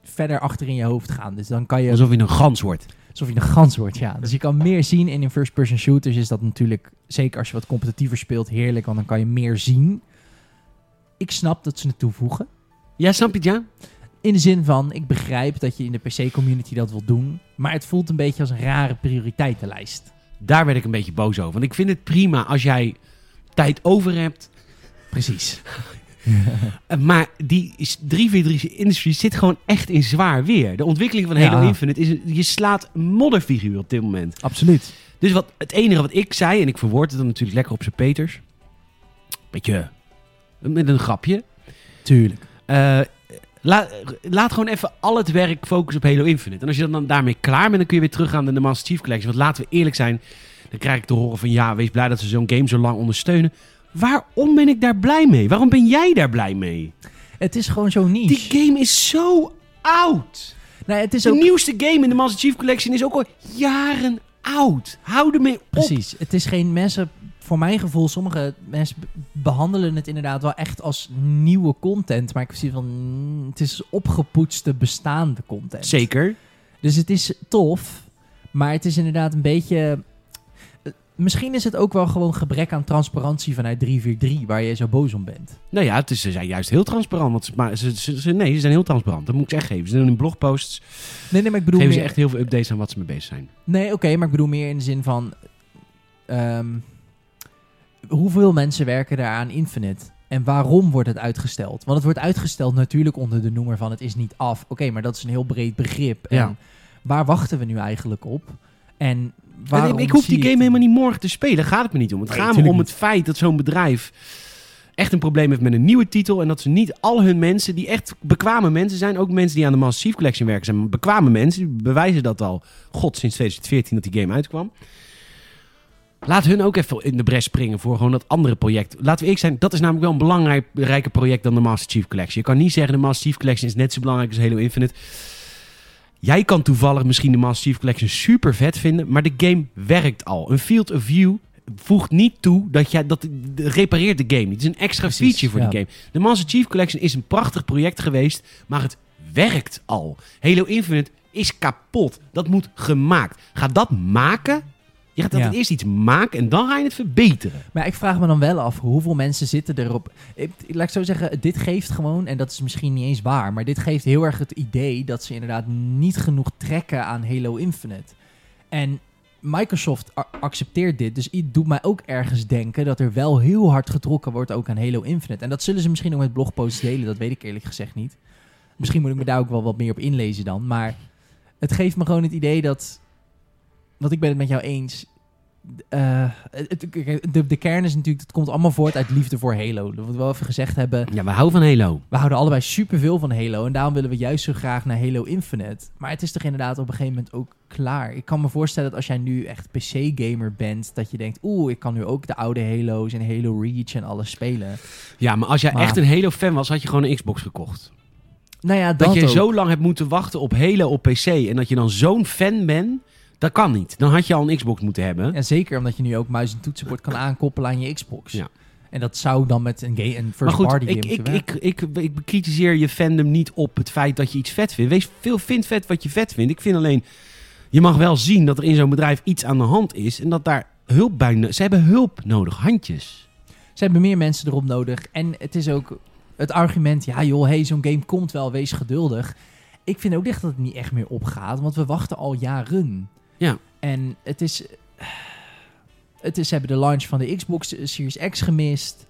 B: verder achter in je hoofd gaan. Dus dan kan je...
A: Alsof je een gans wordt.
B: Alsof je een gans wordt, ja. Dus je kan meer zien. En in first-person shooters is dat natuurlijk, zeker als je wat competitiever speelt, heerlijk. Want dan kan je meer zien. Ik snap dat ze het toevoegen.
A: Ja, snap je het, ja?
B: In de zin van, ik begrijp dat je in de PC-community dat wil doen. Maar het voelt een beetje als een rare prioriteitenlijst.
A: Daar werd ik een beetje boos over. Want ik vind het prima als jij tijd over hebt.
B: Precies.
A: Eh, Maar die is- 343 Industries zit gewoon echt in zwaar weer. De ontwikkeling van Halo
B: Ja.
A: Infinite is... een- Je slaat een modderfiguur op dit moment.
B: Absoluut.
A: Dus wat, het enige wat ik zei, en ik verwoord het dan natuurlijk lekker op zijn peters. Beetje Met een grapje.
B: Tuurlijk.
A: Eh, la- laat gewoon even al het werk focussen op Halo Infinite. En als je dan, dan daarmee klaar bent, dan kun je weer teruggaan naar de Master Chief Collection. Want laten we eerlijk zijn, dan krijg ik te horen van... Ja, wees blij dat ze zo'n game zo lang ondersteunen. Waarom ben ik daar blij mee? Waarom ben jij daar blij mee?
B: Het is gewoon zo niche.
A: Die game is zo oud.
B: nou, het is
A: De
B: ook...
A: nieuwste game in de Master Chief Collection is ook al jaren oud. Hou ermee op.
B: Precies. Het is geen mensen... Voor mijn gevoel, sommige mensen be- behandelen het inderdaad wel echt als nieuwe content. Maar ik zie van... mm, Het is opgepoetste bestaande content.
A: Zeker.
B: Dus het is tof, maar het is inderdaad een beetje. eh, Misschien is het ook wel gewoon gebrek aan transparantie vanuit 343, waar je zo boos om bent.
A: Nou ja, het is, ze zijn juist heel transparant. Want ze, maar ze, ze- ze- nee, ze zijn heel transparant. Dat moet ik ze echt geven. Ze doen in blogposts.
B: Nee, nee, maar ik bedoel.
A: Geven ze
B: meer-
A: echt heel veel updates aan wat ze mee bezig zijn.
B: Nee, oké, maar ik bedoel meer in de zin van. ehm, hoeveel mensen werken daar aan Infinite? En waarom wordt het uitgesteld? Want het wordt uitgesteld natuurlijk onder de noemer van het is niet af. Oké, maar dat is een heel breed begrip. En
A: Ja.
B: waar wachten we nu eigenlijk op? En waarom
A: ik hoef
B: zie
A: die
B: je
A: game
B: het-
A: helemaal niet morgen te spelen. Gaat het me niet om. Het
B: Nee,
A: gaat me
B: tuurlijk
A: om het feit dat zo'n bedrijf echt een probleem heeft met een nieuwe titel. En dat ze niet al hun mensen, die echt bekwame mensen zijn. Ook mensen die aan de Master Chief Collection werken zijn. Bekwame mensen. Die bewijzen dat al. God, sinds 2014 dat die game uitkwam. Laat hun ook even in de bres springen voor gewoon dat andere project. Laten we eerlijk zijn, dat is namelijk wel een belangrijk- belangrijker project dan de Master Chief Collection. Je kan niet zeggen de Master Chief Collection is net zo belangrijk als Halo Infinite. Jij kan toevallig misschien de Master Chief Collection super vet vinden, maar de game werkt al. Een field of view voegt niet toe dat jij dat de- repareert de game. niet. Het is een extra
B: Precies,
A: feature voor
B: ja.
A: die game. De Master Chief Collection is een prachtig project geweest, maar het werkt al. Halo Infinite is kapot. Dat moet gemaakt. Ga dat maken. Je gaat dat
B: Ja.
A: eerst iets maken en dan ga je het verbeteren.
B: Maar ik vraag me dan wel af, hoeveel mensen zitten erop? Ik, laat ik zo zeggen, dit geeft gewoon, en dat is misschien niet eens waar, maar dit geeft heel erg het idee dat ze inderdaad niet genoeg trekken aan Halo Infinite. En Microsoft a- accepteert dit, dus het doet mij ook ergens denken dat er wel heel hard getrokken wordt ook aan Halo Infinite. En dat zullen ze misschien ook met blogposts delen, dat weet ik eerlijk gezegd niet. Misschien moet ik me daar ook wel wat meer op inlezen dan, maar het geeft me gewoon het idee dat, want ik ben het met jou eens, eh, het- het- de, de kern is natuurlijk, het komt allemaal voort uit liefde voor Halo. Dat we wel even gezegd hebben,
A: Ja, we houden van Halo.
B: we houden allebei superveel van Halo. En daarom willen we juist zo graag naar Halo Infinite. Maar het is toch inderdaad op een gegeven moment ook klaar. Ik kan me voorstellen dat als jij nu echt PC-gamer bent, dat je denkt, oeh, ik kan nu ook de oude Halo's en Halo Reach en alles spelen.
A: Ja, maar als jij
B: Maar-
A: echt een Halo-fan was, had je gewoon een Xbox gekocht.
B: Nou ja, dat,
A: Dat, je
B: ook.
A: zo lang hebt moeten wachten op Halo op PC en dat je dan zo'n fan bent, dat kan niet. Dan had je al een Xbox moeten hebben.
B: En zeker omdat je nu ook muis en toetsenbord kan aankoppelen aan je Xbox.
A: Ja.
B: En dat zou dan met een, ga- een
A: maar goed,
B: first-party game
A: ik,
B: moeten
A: ik,
B: werken.
A: ik, ik, ik bekritiseer je fandom niet op het feit dat je iets vet vindt. Wees veel vind vet wat je vet vindt. Ik vind alleen, je mag wel zien dat er in zo'n bedrijf iets aan de hand is en dat daar hulp bij. no- Ze hebben hulp nodig, handjes.
B: Ze hebben meer mensen erop nodig. En het is ook het argument, ja joh, hey, zo'n game komt wel, wees geduldig. Ik vind ook echt dat het niet echt meer opgaat, want we wachten al jaren.
A: Ja.
B: En het is... Het is, ze hebben de launch van de Xbox Series X gemist.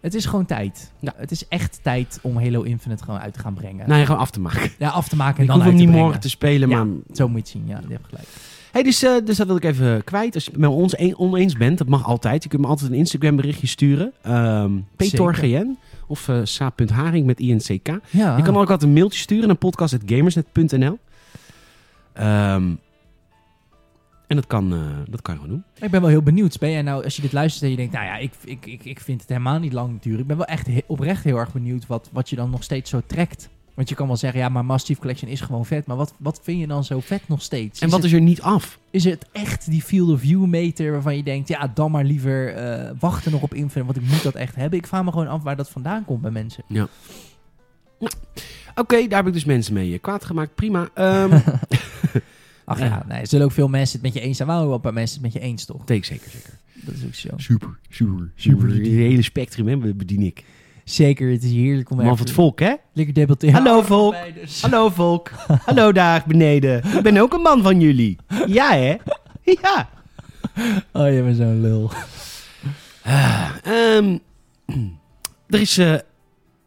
B: Het is gewoon tijd.
A: Ja.
B: Het is echt tijd om Halo Infinite gewoon uit te gaan brengen.
A: Nou, je gewoon af te maken.
B: ja, af te maken en
A: Ik
B: dan
A: hoef
B: uit
A: hem
B: te
A: niet
B: brengen.
A: morgen te spelen,
B: Ja.
A: maar
B: Zo moet je het zien, ja, je hebt gelijk.
A: Hey, dus, eh, dus dat wil ik even kwijt. Als je het met ons een- oneens bent, dat mag altijd. Je kunt me altijd een Instagram berichtje sturen. Ehm PetorGN of eh sa.haring met INCK.
B: Ja,
A: Je kan ook altijd een mailtje sturen naar podcast.gamersnet.nl. Ehm, en dat kan, eh, dat kan je gewoon doen.
B: Ik ben wel heel benieuwd. Ben jij nou, als je dit luistert en je denkt, nou ja, ik, ik, ik, ik vind het helemaal niet lang duren. Ik ben wel echt he- oprecht heel erg benieuwd wat, wat je dan nog steeds zo trekt. Want je kan wel zeggen, ja, maar Massive Collection is gewoon vet. Maar wat, wat vind je dan zo vet nog steeds?
A: En wat
B: het,
A: is er niet af?
B: is het echt die field of view meter waarvan je denkt, ja, dan maar liever eh, wachten nog op Infinite, want ik moet dat echt hebben. Ik vraag me gewoon af waar dat vandaan komt bij mensen.
A: Oké, daar heb ik dus mensen mee eh, kwaad gemaakt. Prima. Ehm
B: Ach
A: Ja.
B: ja, nee, er zullen ook veel mensen het met je eens zijn. Maar ook wel een paar mensen het met je eens, toch?
A: Take zeker, zeker.
B: Dat is ook zo.
A: Super, super, super. Het hele spectrum hè, bedien ik.
B: Zeker, het is heerlijk om
A: Man
B: even
A: van het volk, hè?
B: lekker debatteren.
A: Hallo, volk.
B: Allebei dus.
A: Hallo volk. Hallo daar beneden. Ik ben ook een man van jullie. Ja hè? Ja.
B: Oh, je bent zo'n lul.
A: Ehm, er is eh,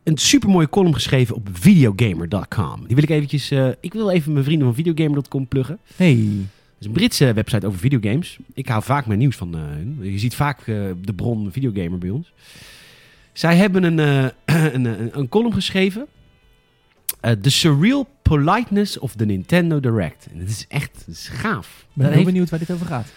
A: een supermooie column geschreven op videogamer.com. Die wil ik eventjes... eh, ik wil even mijn vrienden van videogamer.com pluggen.
B: Hey.
A: Dat is een Britse website over videogames. Ik haal vaak mijn nieuws van eh, hun. Je ziet vaak eh, de bron videogamer bij ons. Zij hebben een, eh, een, een, een column geschreven. Eh, the Surreal Politeness of the Nintendo Direct. En het is echt het is gaaf.
B: ben
A: Dat
B: heel
A: heeft
B: benieuwd waar dit over gaat.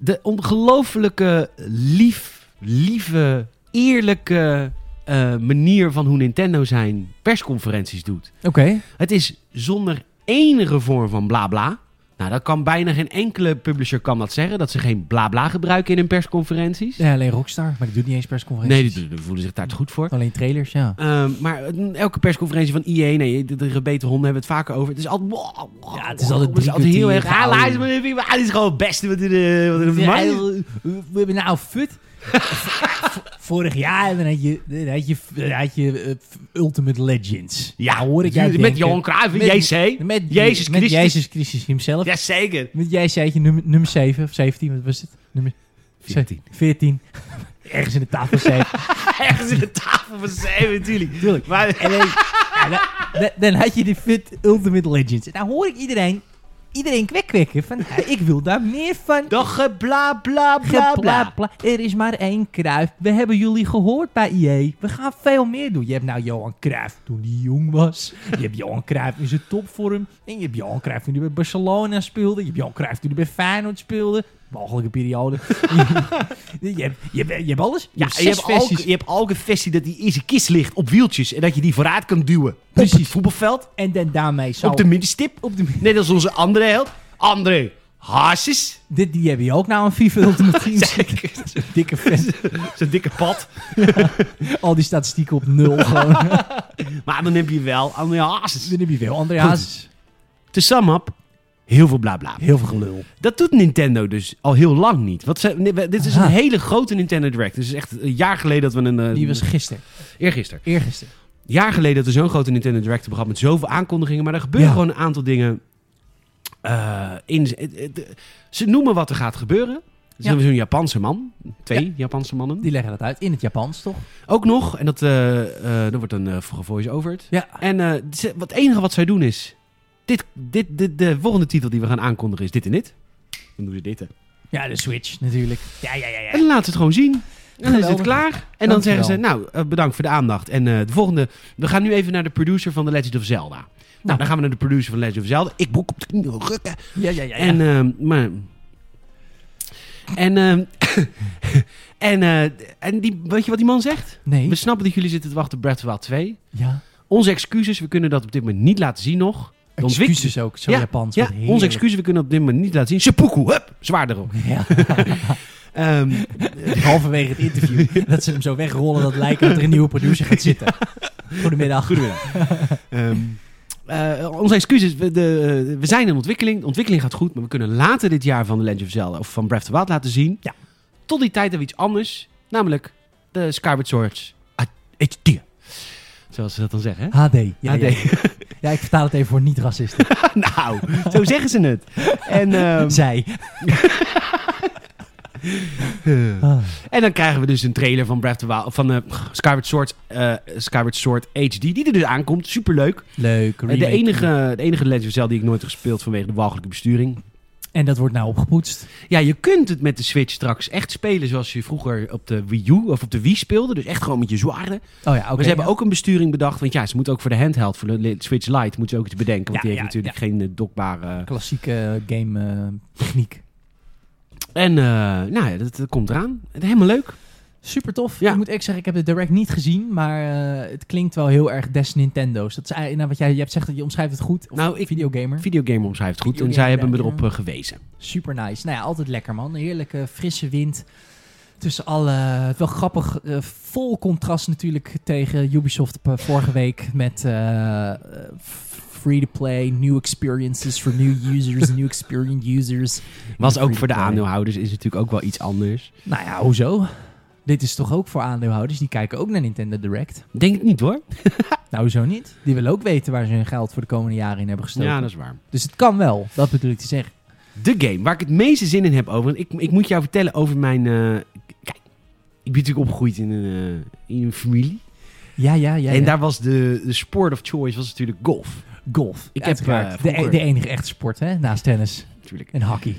A: de ongelofelijke lief, lieve, eerlijke eh, manier van hoe Nintendo zijn persconferenties doet.
B: Oké.
A: Het is zonder enige vorm van blabla. Nou, dat kan bijna geen enkele publisher kan dat zeggen. Dat ze geen blabla gebruiken in hun persconferenties.
B: Ja, alleen Rockstar, maar ik doe niet eens persconferenties.
A: Nee, die, die voelen zich daar te goed voor.
B: Alleen trailers, ja.
A: Ehm, maar elke persconferentie van IE, nee, de, de gebeten honden hebben het vaker over. Het is altijd... Oh,
B: Ja, het is altijd
A: het is
B: drie
A: altijd heel erg...
B: kwartier
A: Ja,
B: gehouden.
A: luister maar even, maar het is gewoon het beste wat er... eh, Wat er
B: Ja,
A: wat er-
B: heel- we hebben nou fut. V- Vorig jaar dan had je, dan had je, dan had je eh, Ultimate Legends.
A: Ja,
B: Nou hoor ik jou
A: met
B: denken.
A: Johan Cruijff,
B: Met-
A: JC.
B: Met
A: Jezus
B: met
A: Christus.
B: Jezus Christus himself.
A: Jazeker.
B: Met jij zei je nummer, nummer 7 of 17, wat was het? Nummer
A: 14.
B: 14. Ergens in de tafel 7.
A: Ergens in de tafel van zeven, natuurlijk.
B: Tuurlijk.
A: Maar
B: En dan, ja, dan, dan- dan had je de Fit Ultimate Legends. En dan hoor ik iedereen, iedereen kwekwekken van "Ja, ik wil daar meer van.
A: toch eh, bla bla bla
B: Bla,
A: bla.
B: bla, bla. Er is maar één Kruif. We hebben jullie gehoord bij IE. We gaan veel meer doen. Je hebt nou Johan Cruijff toen hij jong was. Je hebt Johan Cruijff in zijn topvorm. En je hebt Johan Cruijff toen hij bij Barcelona speelde. Je hebt Johan Cruijff toen hij bij Feyenoord speelde. Mogelijke periode. je, hebt, je, hebt, je hebt alles.
A: Ja, je hebt, al, je hebt al gevestigd dat die in zijn kist ligt op wieltjes. En dat je die vooruit kan duwen op het
B: Precies.
A: voetbalveld.
B: En dan daarmee zou...
A: Op de middenstip.
B: Op de...
A: Net als onze andere held. André Hazes.
B: Dit, die hebben je ook nou een FIFA Ultimate Team.
A: Zeker.
B: Dikke vent.
A: Zo'n dikke pad.
B: Al die statistieken op nul gewoon.
A: Maar dan heb je wel André Hazes.
B: Dan heb je wel André
A: Goed.
B: Hazes.
A: Te sum up, heel veel bla bla.
B: Heel veel gelul.
A: Dat doet Nintendo dus al heel lang niet. Want ze, nee, we- dit is een
B: Aha.
A: hele grote Nintendo Direct. Het is echt een jaar geleden dat we een... eh,
B: Die was gisteren.
A: Eergisteren.
B: Eergisteren.
A: Een jaar geleden dat we zo'n grote Nintendo Direct hebben gehad met zoveel aankondigingen. Maar er gebeuren
B: Ja.
A: gewoon een aantal dingen. eh, in, het- het- ze noemen wat er gaat gebeuren. Dus
B: Ja.
A: hebben we zo'n Japanse man. Twee Japanse mannen.
B: Die leggen dat uit in het Japans, toch?
A: Ook nog, en dat, eh eh dat wordt een eh gevoice-overd.
B: Ja.
A: En eh, ze- wat, het enige wat zij doen is... Dit, dit, dit, de volgende titel die we gaan aankondigen is dit en dit. Dan doen ze dit. hè.
B: Ja, de Switch natuurlijk. Ja, ja, ja.
A: En dan laten ze het gewoon zien. En dan is het
B: Geweldig.
A: klaar. En dan
B: Dankjewel.
A: zeggen ze, nou, eh, bedankt voor de aandacht. En eh, de volgende, we gaan nu even naar de producer van The Legend of Zelda. Nou,
B: Nou.
A: dan gaan we naar de producer van The Legend of Zelda. Ik boek op de knie, oh, rukken.
B: Ja, ja, ja.
A: En, ehm, maar... En, ehm, en, eh, en die, weet je wat die man zegt?
B: nee.
A: We snappen dat jullie zitten te wachten op Breath of the Wild 2.
B: Ja.
A: Onze excuses, we kunnen dat op dit moment niet laten zien nog. De ontwik-
B: Excuses ook, zo
A: Ja,
B: Japans.
A: Ja,
B: wat heerlijk.
A: onze excuses, we kunnen dat op dit moment niet laten zien. Seppuku, hup, zwaar erop.
B: Ja,
A: Ehm,
B: halverwege het interview. dat ze hem zo wegrollen, dat lijkt dat er een nieuwe producer gaat zitten. Goedemiddag. Goedemiddag.
A: Ehm, eh, onze excuses, we, de, eh, we zijn in ontwikkeling. De ontwikkeling gaat goed, maar we kunnen later dit jaar van The Legend of Zelda of van Breath of the Wild laten zien.
B: Ja.
A: Tot die tijd hebben we iets anders, namelijk de Skyward Swords HD. Zoals ze dat dan zeggen, hè?
B: HD. Ja, ja,
A: HD.
B: Ja. Ja, ik vertaal het even voor niet-racisten.
A: nou, zo zeggen ze het. En, ehm,
B: Zij. Ah.
A: en dan krijgen we dus een trailer van, Breath of the Wild, van eh, Skyward, Sword, eh, Skyward Sword HD, die er dus aankomt. Superleuk.
B: Leuk.
A: Eh, de,
B: remake.
A: enige, de enige Legend of Zelda die ik nooit heb gespeeld vanwege de walgelijke besturing.
B: En dat wordt nou opgepoetst.
A: Ja, je kunt het met de Switch straks echt spelen zoals je vroeger op de Wii U of op de Wii speelde. Dus echt gewoon met je zwaarden.
B: Oh ja, oké.
A: maar ze hebben
B: ja.
A: ook een besturing bedacht. Want ja, ze moeten ook voor de handheld, voor de le- Switch Lite, moeten ze ook iets bedenken. Want
B: Ja,
A: die heeft
B: ja,
A: natuurlijk geen eh, dokbare...
B: Klassieke game eh, techniek.
A: En eh, nou ja, dat, dat komt eraan. Het- Helemaal leuk.
B: Super tof.
A: Ja.
B: Ik moet echt zeggen, ik heb de direct niet gezien, maar eh, het klinkt wel heel erg des Nintendo's. Dat is eigenlijk, nou, wat jij, jij hebt zegt, dat je omschrijft het goed. Of
A: Nou, ik-
B: videogamer.
A: Videogame omschrijft goed. En
B: Videogame,
A: zij hebben me
B: ja.
A: erop eh, gewezen.
B: Super nice. Nou ja, altijd lekker man. Een heerlijke frisse wind. Tussen alle, wel grappig, eh, vol contrast natuurlijk tegen Ubisoft eh, vorige week met eh, eh, free to play, new experiences for new users, new experienced users.
A: Was ook voor de
B: Free-to-play.
A: aandeelhouders is het natuurlijk ook wel iets anders.
B: Nou ja, hoezo? Dit is toch ook voor aandeelhouders, die kijken ook naar Nintendo Direct.
A: Denk het niet hoor.
B: Nou, zo niet. Die willen ook weten waar ze hun geld voor de komende jaren in hebben gestoken.
A: Ja, dat is waar.
B: Dus het kan wel, dat bedoel ik te zeggen.
A: De game waar ik het meeste zin in heb over. want Ik, ik moet jou vertellen over mijn. eh, kijk, ik ben natuurlijk opgegroeid in een, eh, in een familie.
B: Ja, ja, ja.
A: en
B: ja.
A: daar was de, de sport of choice was natuurlijk golf.
B: golf.
A: Ik heb,
B: uiteraard.
A: eh,
B: de, e-
A: vroeger-
B: de enige echte sport, hè? Naast tennis
A: Natuurlijk.
B: en hockey.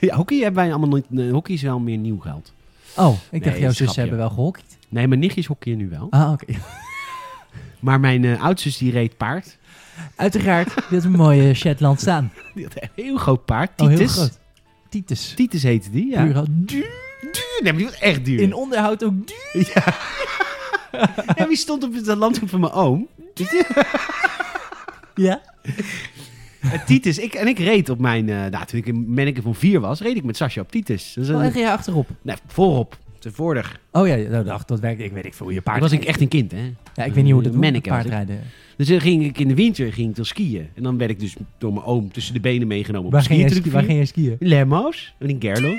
A: Ja, hockey hebben wij allemaal nooit. nee, hockey is wel meer nieuw geld.
B: Oh, ik
A: Nee,
B: dacht,
A: dat is een
B: jouw zussen
A: grapje.
B: hebben wel gehockeyd.
A: Nee, mijn nichtjes hockeyen nu wel.
B: Ah, oké.
A: Maar mijn eh, oudzus die reed paard.
B: Uiteraard, dit is een mooie Shetland staan.
A: Die had een heel groot paard.
B: Oh, heel
A: Titus.
B: groot. Titus.
A: Titus heette die, ja.
B: Duur al- duur.
A: Duur, nee, maar die was echt duur.
B: In onderhoud ook duur.
A: En wie stond op het landgoed van mijn oom?
B: Ja.
A: En Titus, ik, en ik reed op mijn... eh nou, toen ik een manneke van vier was, reed ik met Sascha op Titus. Dat is
B: Oh,
A: een-
B: en ga je achterop?
A: nee, voorop. Te voordig.
B: Oh ja, ja, nou, dacht, dat werkt. Ik weet ik veel hoe je paard.
A: Ik was ik echt een kind, hè.
B: Ja, ik weet niet hoe dat moet,
A: Manneke was ik.
B: paardrijden.
A: Dus dan ging ik in de winter ging ik dan skiën. En dan werd ik dus door mijn oom tussen de benen meegenomen op
B: Waar
A: een
B: ging, je,
A: skiertruc.
B: ski- waar ging je skiën?
A: In Lemmo's, en in Gerlo.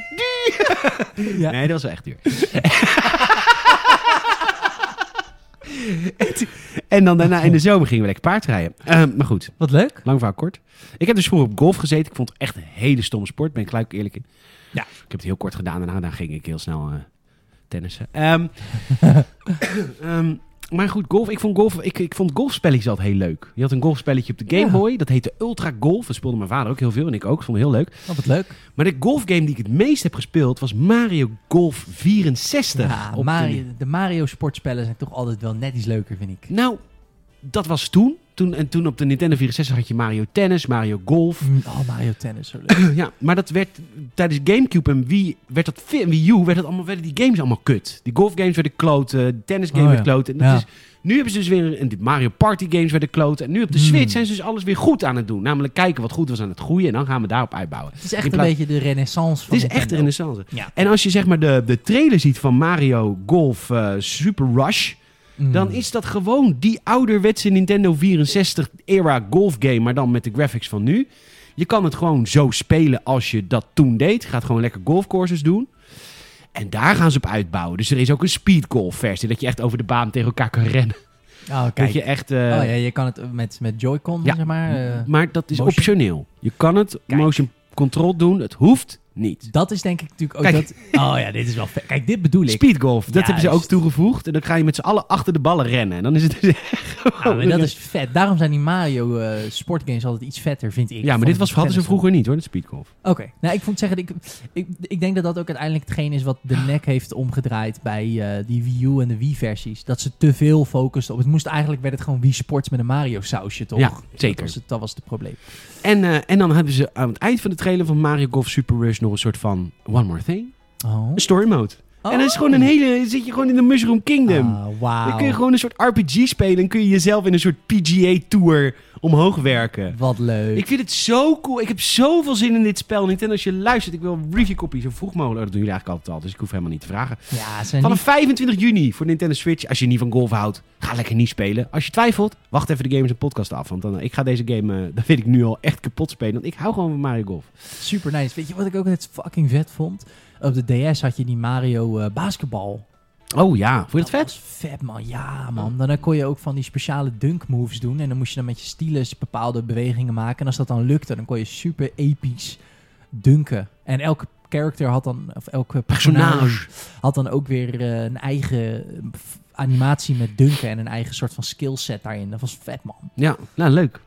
B: Ja.
A: Nee, dat was wel echt duur. En toen- en dan daarna in de zomer gingen we lekker paardrijden. Ehm, maar goed,
B: Wat leuk.
A: lang verhaal kort. Ik heb dus vroeger op golf gezeten. Ik vond het echt een hele stomme sport, ben ik gelijk eerlijk in.
B: Ja.
A: Ik heb het heel kort gedaan. Daarna daarna ging ik heel snel eh tennissen. Ehm, ehm, maar goed, golf. Ik vond, golf, ik, ik vond golfspelletjes altijd heel leuk. Je had een golfspelletje op de Game
B: Ja.
A: Boy. Dat heette Ultra Golf. Dat speelde mijn vader ook heel veel en ik ook. Ik vond het heel leuk.
B: Oh, wat leuk.
A: Maar de golfgame die ik het meest heb gespeeld was Mario Golf 64.
B: Ja,
A: Op de-
B: Mario, de Mario sportspellen zijn toch altijd wel net iets leuker, vind ik.
A: Nou, dat was toen. toen. En toen op de Nintendo 64 had je Mario Tennis, Mario Golf.
B: Mm, Oh, Mario tennis. Zo leuk.
A: ja, maar dat werd tijdens Gamecube en Wii, werd dat, fi- en Wii U werd dat allemaal, werden die games allemaal kut. Die golfgames werden kloten, de tennisgame
B: Oh,
A: werd
B: ja.
A: kloten. En dat
B: Ja.
A: is- nu hebben ze dus weer, en die Mario Party games werden kloten. En nu op de
B: Hmm.
A: Switch zijn ze dus alles weer goed aan het doen. Namelijk kijken wat goed was aan het groeien en dan gaan we daarop uitbouwen.
B: Het is echt
A: In
B: een
A: plaats-
B: beetje de renaissance van
A: Het is echt een
B: Nintendo.
A: renaissance.
B: Ja.
A: En als je zeg maar de, de trailer ziet van Mario Golf eh, Super Rush,
B: Mm.
A: dan is dat gewoon die ouderwetse Nintendo 64 era golf game, maar dan met de graphics van nu. Je kan het gewoon zo spelen als je dat toen deed. Je gaat gewoon lekker golfcourses doen. En daar gaan ze op uitbouwen. Dus er is ook een speedgolf versie. Dat je echt over de baan tegen elkaar kan rennen.
B: Oh, kijk.
A: Dat je echt, eh,
B: oh, ja, je kan het met, met Joy-Con,
A: Ja. Mm.
B: zeg maar. eh,
A: Maar dat is
B: Motion.
A: optioneel. Je kan het
B: Kijk.
A: motion control doen. Het hoeft niet.
B: dat is denk ik natuurlijk ook
A: Kijk.
B: dat... Oh ja, dit is wel vet. Kijk, dit bedoel ik.
A: Speedgolf, dat hebben ze ook
B: Juist.
A: toegevoegd. En dan ga je met z'n allen achter de ballen rennen. En dan is het dus
B: Ja, Ah, maar dat is vet. Daarom zijn die Mario eh, sportgames altijd iets vetter, vind ik.
A: Ja, maar
B: van
A: dit was, hadden ze
B: tennis.
A: vroeger niet hoor, de speedgolf.
B: Oké. Nou, ik moet zeggen, ik, ik, ik denk dat dat ook uiteindelijk hetgeen is wat de nek heeft omgedraaid bij eh, die Wii U en de Wii-versies. Dat ze te veel focusten op... Het moest eigenlijk, werd het gewoon Wii Sports met een Mario-sausje, toch?
A: Ja, zeker.
B: Dat was het, dat was het probleem.
A: En, eh, en dan hebben ze aan het eind van de trailer van Mario Golf Super Rush nog een soort van One More Thing.
B: Oh.
A: Een story mode. En dat is gewoon een hele, dan zit je gewoon in de Mushroom Kingdom.
B: Ah, wauw.
A: Dan kun je gewoon een soort RPG spelen en kun je jezelf in een soort PGA Tour omhoog werken.
B: Wat leuk.
A: Ik vind het zo cool. Ik heb zoveel zin in dit spel. Nintendo, als je luistert, ik wil review copy zo vroeg mogelijk. Oh, dat doen jullie eigenlijk altijd al, dus ik hoef helemaal niet te vragen.
B: Ja, ze zijn
A: Vanaf 25 juni voor Nintendo Switch. Als je niet van golf houdt, ga lekker niet spelen. Als je twijfelt, wacht even de Gamers en Podcast af. Want dan, eh, ik ga deze game, eh dat weet ik nu al, echt kapot spelen. Want ik hou gewoon van Mario Golf.
B: Super nice. Weet je wat ik ook net fucking vet vond? Op de DS had je die Mario eh basketbal.
A: Oh ja, vond je dat vet?
B: was vet, man. Ja, man. Dan, dan kon je ook van die speciale dunk moves doen. En dan moest je dan met je stylus bepaalde bewegingen maken. En als dat dan lukte, dan kon je super episch dunken. En elke character had dan, of elke personage
A: Personage.
B: had dan ook weer eh, een eigen eh, f- animatie met dunken. En een eigen soort van skillset daarin. Dat was vet, man.
A: Ja, nou leuk.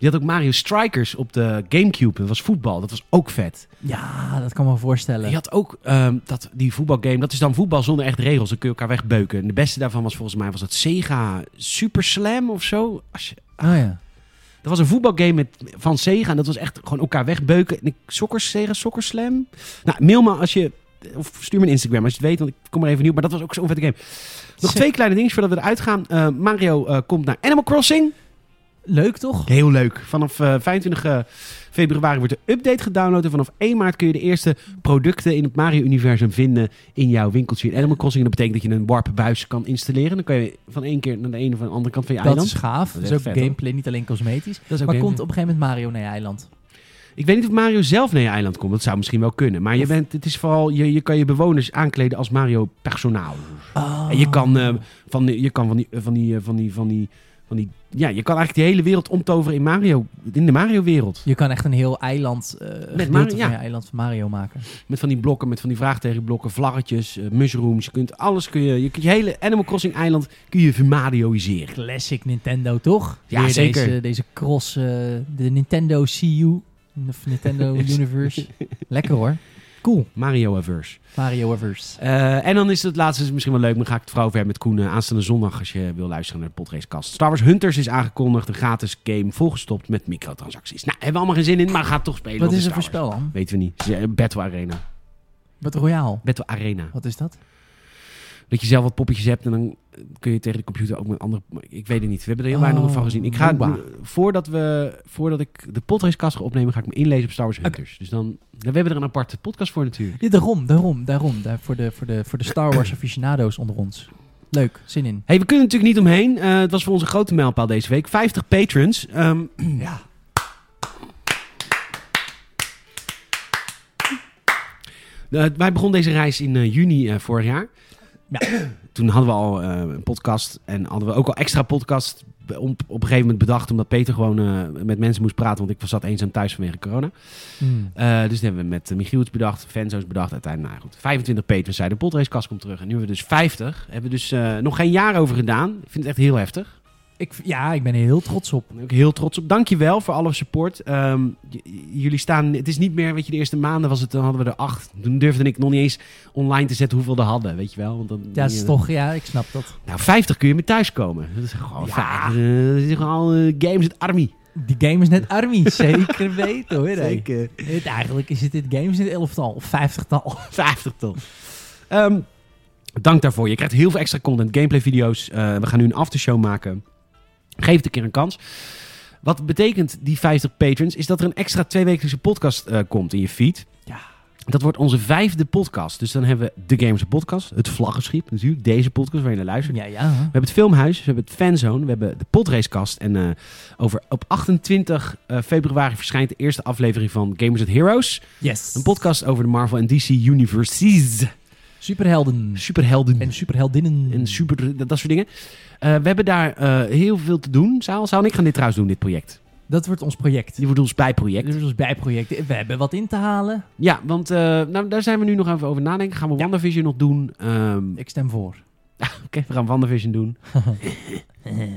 A: Je had ook Mario Strikers op de Gamecube. Dat was voetbal. Dat was ook vet.
B: Ja, Ah, dat kan me voorstellen.
A: Je had ook ehm, dat, die voetbalgame. Dat is dan voetbal zonder echt regels. Dan kun je elkaar wegbeuken. En de beste daarvan was volgens mij was dat Sega Super Slam of zo. Als je,
B: Oh ja.
A: Dat was een voetbalgame met, van Sega. En dat was echt gewoon elkaar wegbeuken. En ik, soccer, Sega Soccer Slam. Nou, mail me als je... Of stuur me een Instagram als je het weet. Want ik kom er even nieuw. Maar dat was ook zo'n vette game. Nog
B: Sick.
A: twee kleine dingen voordat we eruit gaan. Eh, Mario eh, komt naar Animal Crossing.
B: Leuk, toch?
A: Heel leuk. Vanaf eh, 25 eh, februari wordt de update gedownload. En vanaf 1 maart kun je de eerste producten in het Mario-universum vinden in jouw winkeltje in Animal Crossing. En dat betekent dat je een warp-buis kan installeren. Dan kan je van één keer naar de ene of de andere kant van je
B: Dat
A: eiland.
B: is gaaf.
A: Dat is
B: Dat is,
A: echt
B: ook
A: vet, hoor.
B: gameplay, niet alleen cosmetisch.
A: Dat is ook
B: maar
A: heel
B: komt
A: vet.
B: op een gegeven moment Mario naar je eiland.
A: Ik weet niet of Mario zelf naar je eiland komt. Dat zou misschien wel kunnen. Maar je, bent, het is vooral, je, je kan je bewoners aankleden als Mario personaal. En
B: Ah.
A: je kan, eh, van, die- je kan van, die, van, die, eh, van, die, van, die, van die... Ja, je kan eigenlijk die hele wereld omtoveren in, Mario, in de Mario-wereld.
B: Je kan echt een heel eiland, eh gedeelte
A: Mario, ja.
B: van je eiland van Mario maken.
A: Met van die blokken, met van die vraagtegenblokken, vlaggetjes, eh, mushrooms. Je kunt alles, kun je, je, kunt je hele Animal Crossing-eiland kun je vermarioiseren.
B: Classic Nintendo, toch?
A: Ja,
B: Weer
A: zeker.
B: Deze, deze cross, eh, de Nintendo CU, of Nintendo Universe. Lekker hoor. Cool.
A: Mario-averse.
B: Mario Evers.
A: Eh, en dan is het laatste is misschien wel leuk, maar ga ik het vooral over hebben met Koen eh, aanstaande zondag als je wil luisteren naar de podracecast. Star Wars Hunters is aangekondigd, een gratis game volgestopt met microtransacties. Nou, hebben we allemaal geen zin in, maar ga het toch spelen.
B: Wat
A: want
B: is er
A: het
B: voor
A: Star Wars.
B: spel dan?
A: Weten we niet. Het is, eh, Battle Arena.
B: Battle Royale.
A: Battle Arena.
B: Wat is dat?
A: Dat je zelf wat poppetjes hebt en dan kun je tegen de computer ook met andere... maar Ik weet het niet. We hebben er heel
B: Oh,
A: weinig nog van gezien. Ik ga,
B: MOBA.
A: nu- voordat, we, voordat ik de podracecast ga opnemen, ga ik me inlezen op Star Wars Hunters. Dus dan... We hebben er een aparte podcast voor natuurlijk.
B: Ja, daarom, daarom, daarom. Daar voor, de, voor, de, voor de Star Wars aficionado's onder ons. Leuk, zin in.
A: Hey, we kunnen er natuurlijk niet omheen. Eh, het was voor onze grote mijlpaal deze week. 50 patrons. Ehm,
B: Ja.
A: Eh, wij begonnen deze reis in eh, juni eh, vorig jaar. Toen hadden we al eh, een podcast en hadden we ook al extra podcast be- om- op een gegeven moment bedacht. Omdat Peter gewoon eh, met mensen moest praten, want ik zat eenzaam thuis vanwege corona.
B: Hmm.
A: Eh, dus dat hebben we met eh, Michiel iets bedacht, Fenzo's bedacht. Uiteindelijk, nou goed, 25 patrons zeiden, de potracekast komt terug. En nu hebben we dus 50. Hebben we dus eh, nog geen jaar over gedaan. Ik vind het echt heel heftig.
B: Ik, v- ja, ik ben er heel trots op.
A: Ik ben ook heel trots op. Dankjewel voor alle support. Ehm, j- j- jullie staan... Het is niet meer... Weet je, de eerste maanden was het... Dan hadden we er acht. Toen durfde ik nog niet eens online te zetten hoeveel er hadden. Weet je wel? Want dan,
B: Ja, dat is toch, ja, ik snap dat.
A: Nou, 50 kun je met thuiskomen. Dat is gewoon
B: Ja.
A: fijn. Eh, dat is gewoon eh, games het army.
B: Die game is net army, zeker weten hoor. hè.
A: Zeker.
B: Het, eigenlijk is het dit game is in het elftal of vijftigtal.
A: 50 toch. Ehm, dank daarvoor. Je krijgt heel veel extra content. Gameplay video's. Eh, we gaan nu een aftershow maken. Geef het een keer een kans. Wat betekent die 50 patrons? Is dat er een extra tweewekelijkse podcast eh, komt in je feed.
B: Ja.
A: Dat wordt onze vijfde podcast. Dus dan hebben we de Gamers Podcast, het Vlaggenschip natuurlijk, deze podcast waar je naar luistert.
B: Ja, ja.
A: We hebben het Filmhuis, we hebben het Fanzone, we hebben de Podracecast. En eh, over, op 28 eh, februari verschijnt de eerste aflevering van Gamers at Heroes.
B: Yes.
A: Een podcast over de Marvel en DC Universes.
B: Superhelden.
A: Superhelden
B: Hm. En superheldinnen.
A: en super, dat, dat soort dingen. Eh, we hebben daar eh, heel veel te doen. Saal, Saal en ik gaan dit trouwens doen, dit project.
B: Dat wordt ons project.
A: Dit wordt ons bijproject.
B: Dit is ons bijproject. We hebben wat in te halen.
A: Ja, want eh, nou, daar zijn we nu nog even over nadenken. Gaan we WandaVision nog doen? Ehm,
B: Ik stem voor.
A: Oké, we gaan WandaVision doen.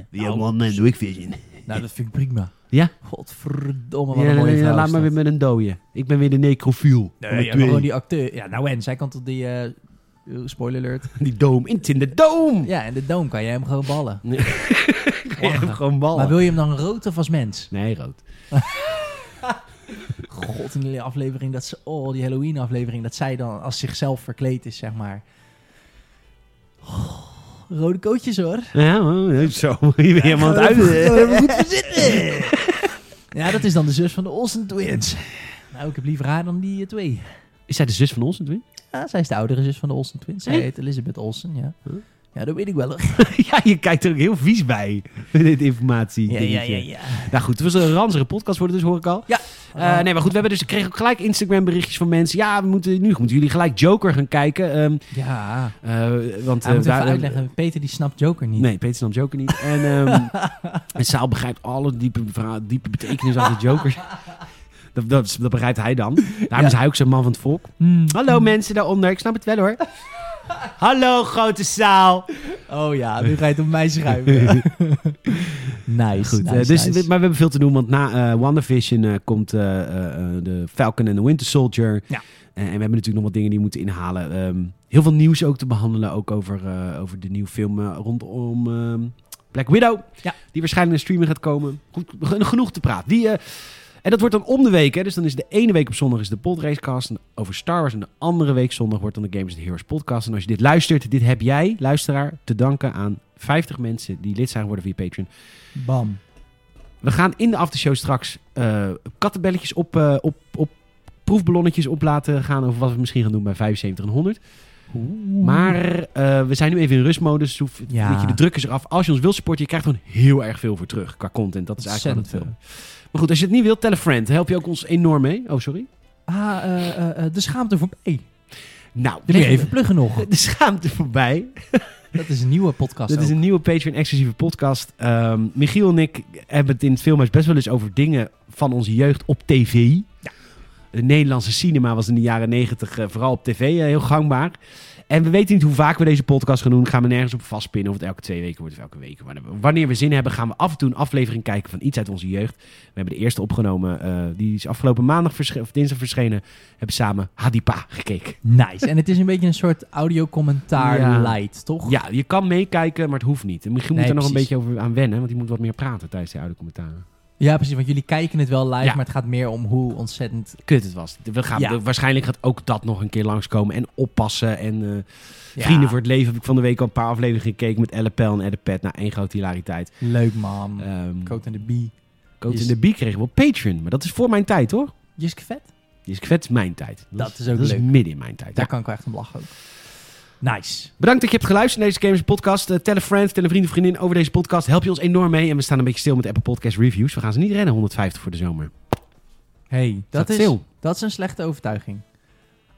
B: Ja, Nou,
A: Wanda en Week Vision.
B: Nou, dat vind ik prima.
A: Ja?
B: Godverdomme, wat
A: Ja,
B: een mooie vrouw
A: laat
B: is
A: maar
B: dat.
A: weer met een dode. Ik ben weer de necrofiel.
B: Nee,
A: Van de
B: ja,
A: twee.
B: gewoon die acteur. Ja, nou en, zij kan tot die... eh, eh, spoiler alert.
A: Die doom. It's in de doom!
B: Ja, en de doom kan jij hem gewoon ballen.
A: Nee.
B: Lachen.
A: gewoon ballen.
B: Maar wil je hem dan rood of als mens?
A: Nee, rood.
B: God, in die aflevering dat ze... Oh, die Halloween aflevering. Dat zij dan als zichzelf verkleed is, zeg maar. Oh, rode kootjes hoor. Oh,
A: Ja, oh, zo. Je bent helemaal aan het uit.
B: Ja, dat is dan de zus van de Olsen Twins. Nou, ik heb liever haar dan die eh, twee.
A: Is zij de zus van ons natuurlijk?
B: Ja, zij is de oudere zus van de Olsen Twins. Zij
A: Hè?
B: heet Elizabeth Olsen, ja.
A: Huh?
B: Ja, dat weet ik wel. hoor.
A: ja, je kijkt er ook heel vies bij. Met dit informatie.
B: Ja, ja,
A: dingetje.
B: ja, ja.
A: Nou goed, het was een ranzige podcast worden dus, hoor ik al.
B: Ja.
A: Eh, nee, maar goed, we hebben dus, kregen ook gelijk Instagram berichtjes van mensen. Ja, we moeten, nu moeten jullie gelijk Joker gaan kijken. ehm,
B: Ja,
A: eh, want,
B: hij
A: eh,
B: moet
A: daar-
B: even uitleggen. Peter die snapt Joker niet.
A: Nee, Peter snapt Joker niet. En, ehm en Saal begrijpt alle diepe, verhaal- diepe betekenis achter Jokers. Dat, dat, dat begrijpt hij dan. Daarom is hij ook zo'n man van het volk.
B: Hmm.
A: Hallo mensen daaronder, ik snap het wel hoor. Hallo grote Saal.
B: Oh ja, nu ga je het op mij schuiven. nice,
A: Goed,
B: nice,
A: eh, dus,
B: nice.
A: Maar we hebben veel te doen, want na eh WandaVision eh, komt eh, eh, eh, de Falcon en de Winter Soldier.
B: Ja.
A: Eh, en we hebben natuurlijk nog wat dingen die we moeten inhalen. Ehm, heel veel nieuws ook te behandelen, ook over, eh, over de nieuwe film eh, rondom ehm, Black Widow.
B: Ja.
A: Die waarschijnlijk naar streaming gaat komen. Goed, geno- genoeg te praten. Die, eh, en dat wordt dan om de week, hè? dus dan is de ene week op zondag is de podracecast en over Star Wars. En de andere week zondag wordt dan de Games of the Heroes podcast. En als je dit luistert, dit heb jij, luisteraar, te danken aan 50 mensen die lid zijn geworden via Patreon.
B: Bam.
A: We gaan in de aftershow straks eh, kattenbelletjes op, eh, op, op proefballonnetjes op laten gaan over wat we misschien gaan doen bij 75 en 100. Maar eh, we zijn nu even in rustmodus. Dus hoef,
B: Ja.
A: weet je, de druk is eraf. Als je ons wilt supporten, je krijgt gewoon heel erg veel voor terug qua content. Dat is eigenlijk wat het
B: Centen.
A: veel. Maar goed, als je het niet wilt, tell a friend. Help je ook ons enorm mee. Oh, sorry.
B: Ah, eh, eh, eh, de schaamte voorbij.
A: Nou,
B: Dat moet je
A: leg-
B: even pluggen nog.
A: De schaamte voorbij.
B: Dat is een nieuwe podcast
A: Dit is
B: ook.
A: een nieuwe Patreon-exclusieve podcast. Ehm, Michiel en ik hebben het in het filmhuis best wel eens over dingen van onze jeugd op tv. De Nederlandse cinema was in de jaren negentig vooral op tv eh, heel eh, gangbaar. En we weten niet hoe vaak we deze podcast gaan doen. Gaan we nergens op vastpinnen of het elke twee weken wordt of elke week. Maar wanneer we zin hebben, gaan we af en toe een aflevering kijken van iets uit onze jeugd. We hebben de eerste opgenomen. eh, die is afgelopen maandag versche- of dinsdag verschenen. Hebben samen Hadipa gekeken.
B: Nice. En het is een beetje een soort audiocommentaar
A: Ja.
B: light, toch?
A: Ja, je kan meekijken, maar het hoeft niet. En Misschien moet
B: Nee,
A: je er nog een
B: precies.
A: beetje over aan wennen. Want die moet wat meer praten tijdens de oude commentaren.
B: Ja, precies. Want jullie kijken het wel live,
A: Ja.
B: maar het gaat meer om hoe ontzettend...
A: Kut het was. We gaan,
B: Ja.
A: we- waarschijnlijk gaat ook dat nog een keer langskomen. En oppassen en... eh, Vrienden voor het leven heb ik van de week al een paar afleveringen gekeken met Elle Pel en Edde Pet. Nou, één grote hilariteit.
B: Leuk, man.
A: Ehm
B: Coat en de Bee.
A: Coach
B: is-
A: in de B kregen we op Patreon. Maar dat is voor mijn tijd, hoor.
B: Jiske vet.
A: Die is kwets mijn tijd.
B: Dat is ook
A: dat
B: leuk.
A: is midden in mijn tijd.
B: Daar
A: Ja.
B: kan ik wel echt om lachen ook. Nice.
A: Bedankt dat je hebt geluisterd naar deze Gamers podcast. Eh, tell a friend, tell een vriend of vriendin over deze podcast. Help je ons enorm mee. En we staan een beetje stil met Apple Podcast Reviews. We gaan ze niet rennen, 150 voor de zomer.
B: hey, dat,
A: Staat
B: is,
A: stil.
B: dat is een slechte overtuiging.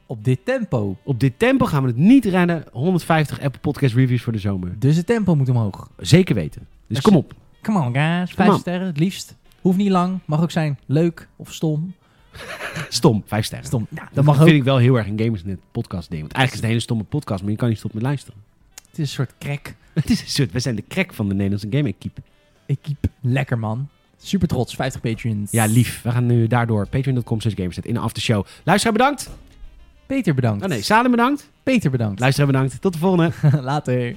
B: Op dit tempo.
A: Op dit tempo gaan we het niet rennen, 150 Apple Podcast Reviews voor de zomer.
B: Dus het tempo moet omhoog.
A: Zeker weten. Dus kom op.
B: Come on, guys.
A: Come
B: Vijf
A: on.
B: sterren, het liefst. Hoeft niet lang. Mag ook zijn leuk of stom.
A: Stom, vijf sterren.
B: Stom. Ja, dat mag ook.
A: vind ik wel heel erg een Gamersnet podcast ding. Want eigenlijk is het een hele stomme podcast, maar je kan niet stoppen met luisteren.
B: Het is een soort crack.
A: Het is een soort, we zijn de crack van de Nederlandse game equipe.
B: Equipe. Lekker, man. Super trots. 50 patrons.
A: Ja, lief. We gaan nu daardoor patreon.com slash gamersnet in de aftershow. Luisteraar bedankt.
B: Peter bedankt.
A: Oh nee, Salem bedankt.
B: Peter bedankt.
A: Luisteraar bedankt. Tot de volgende.
B: Later.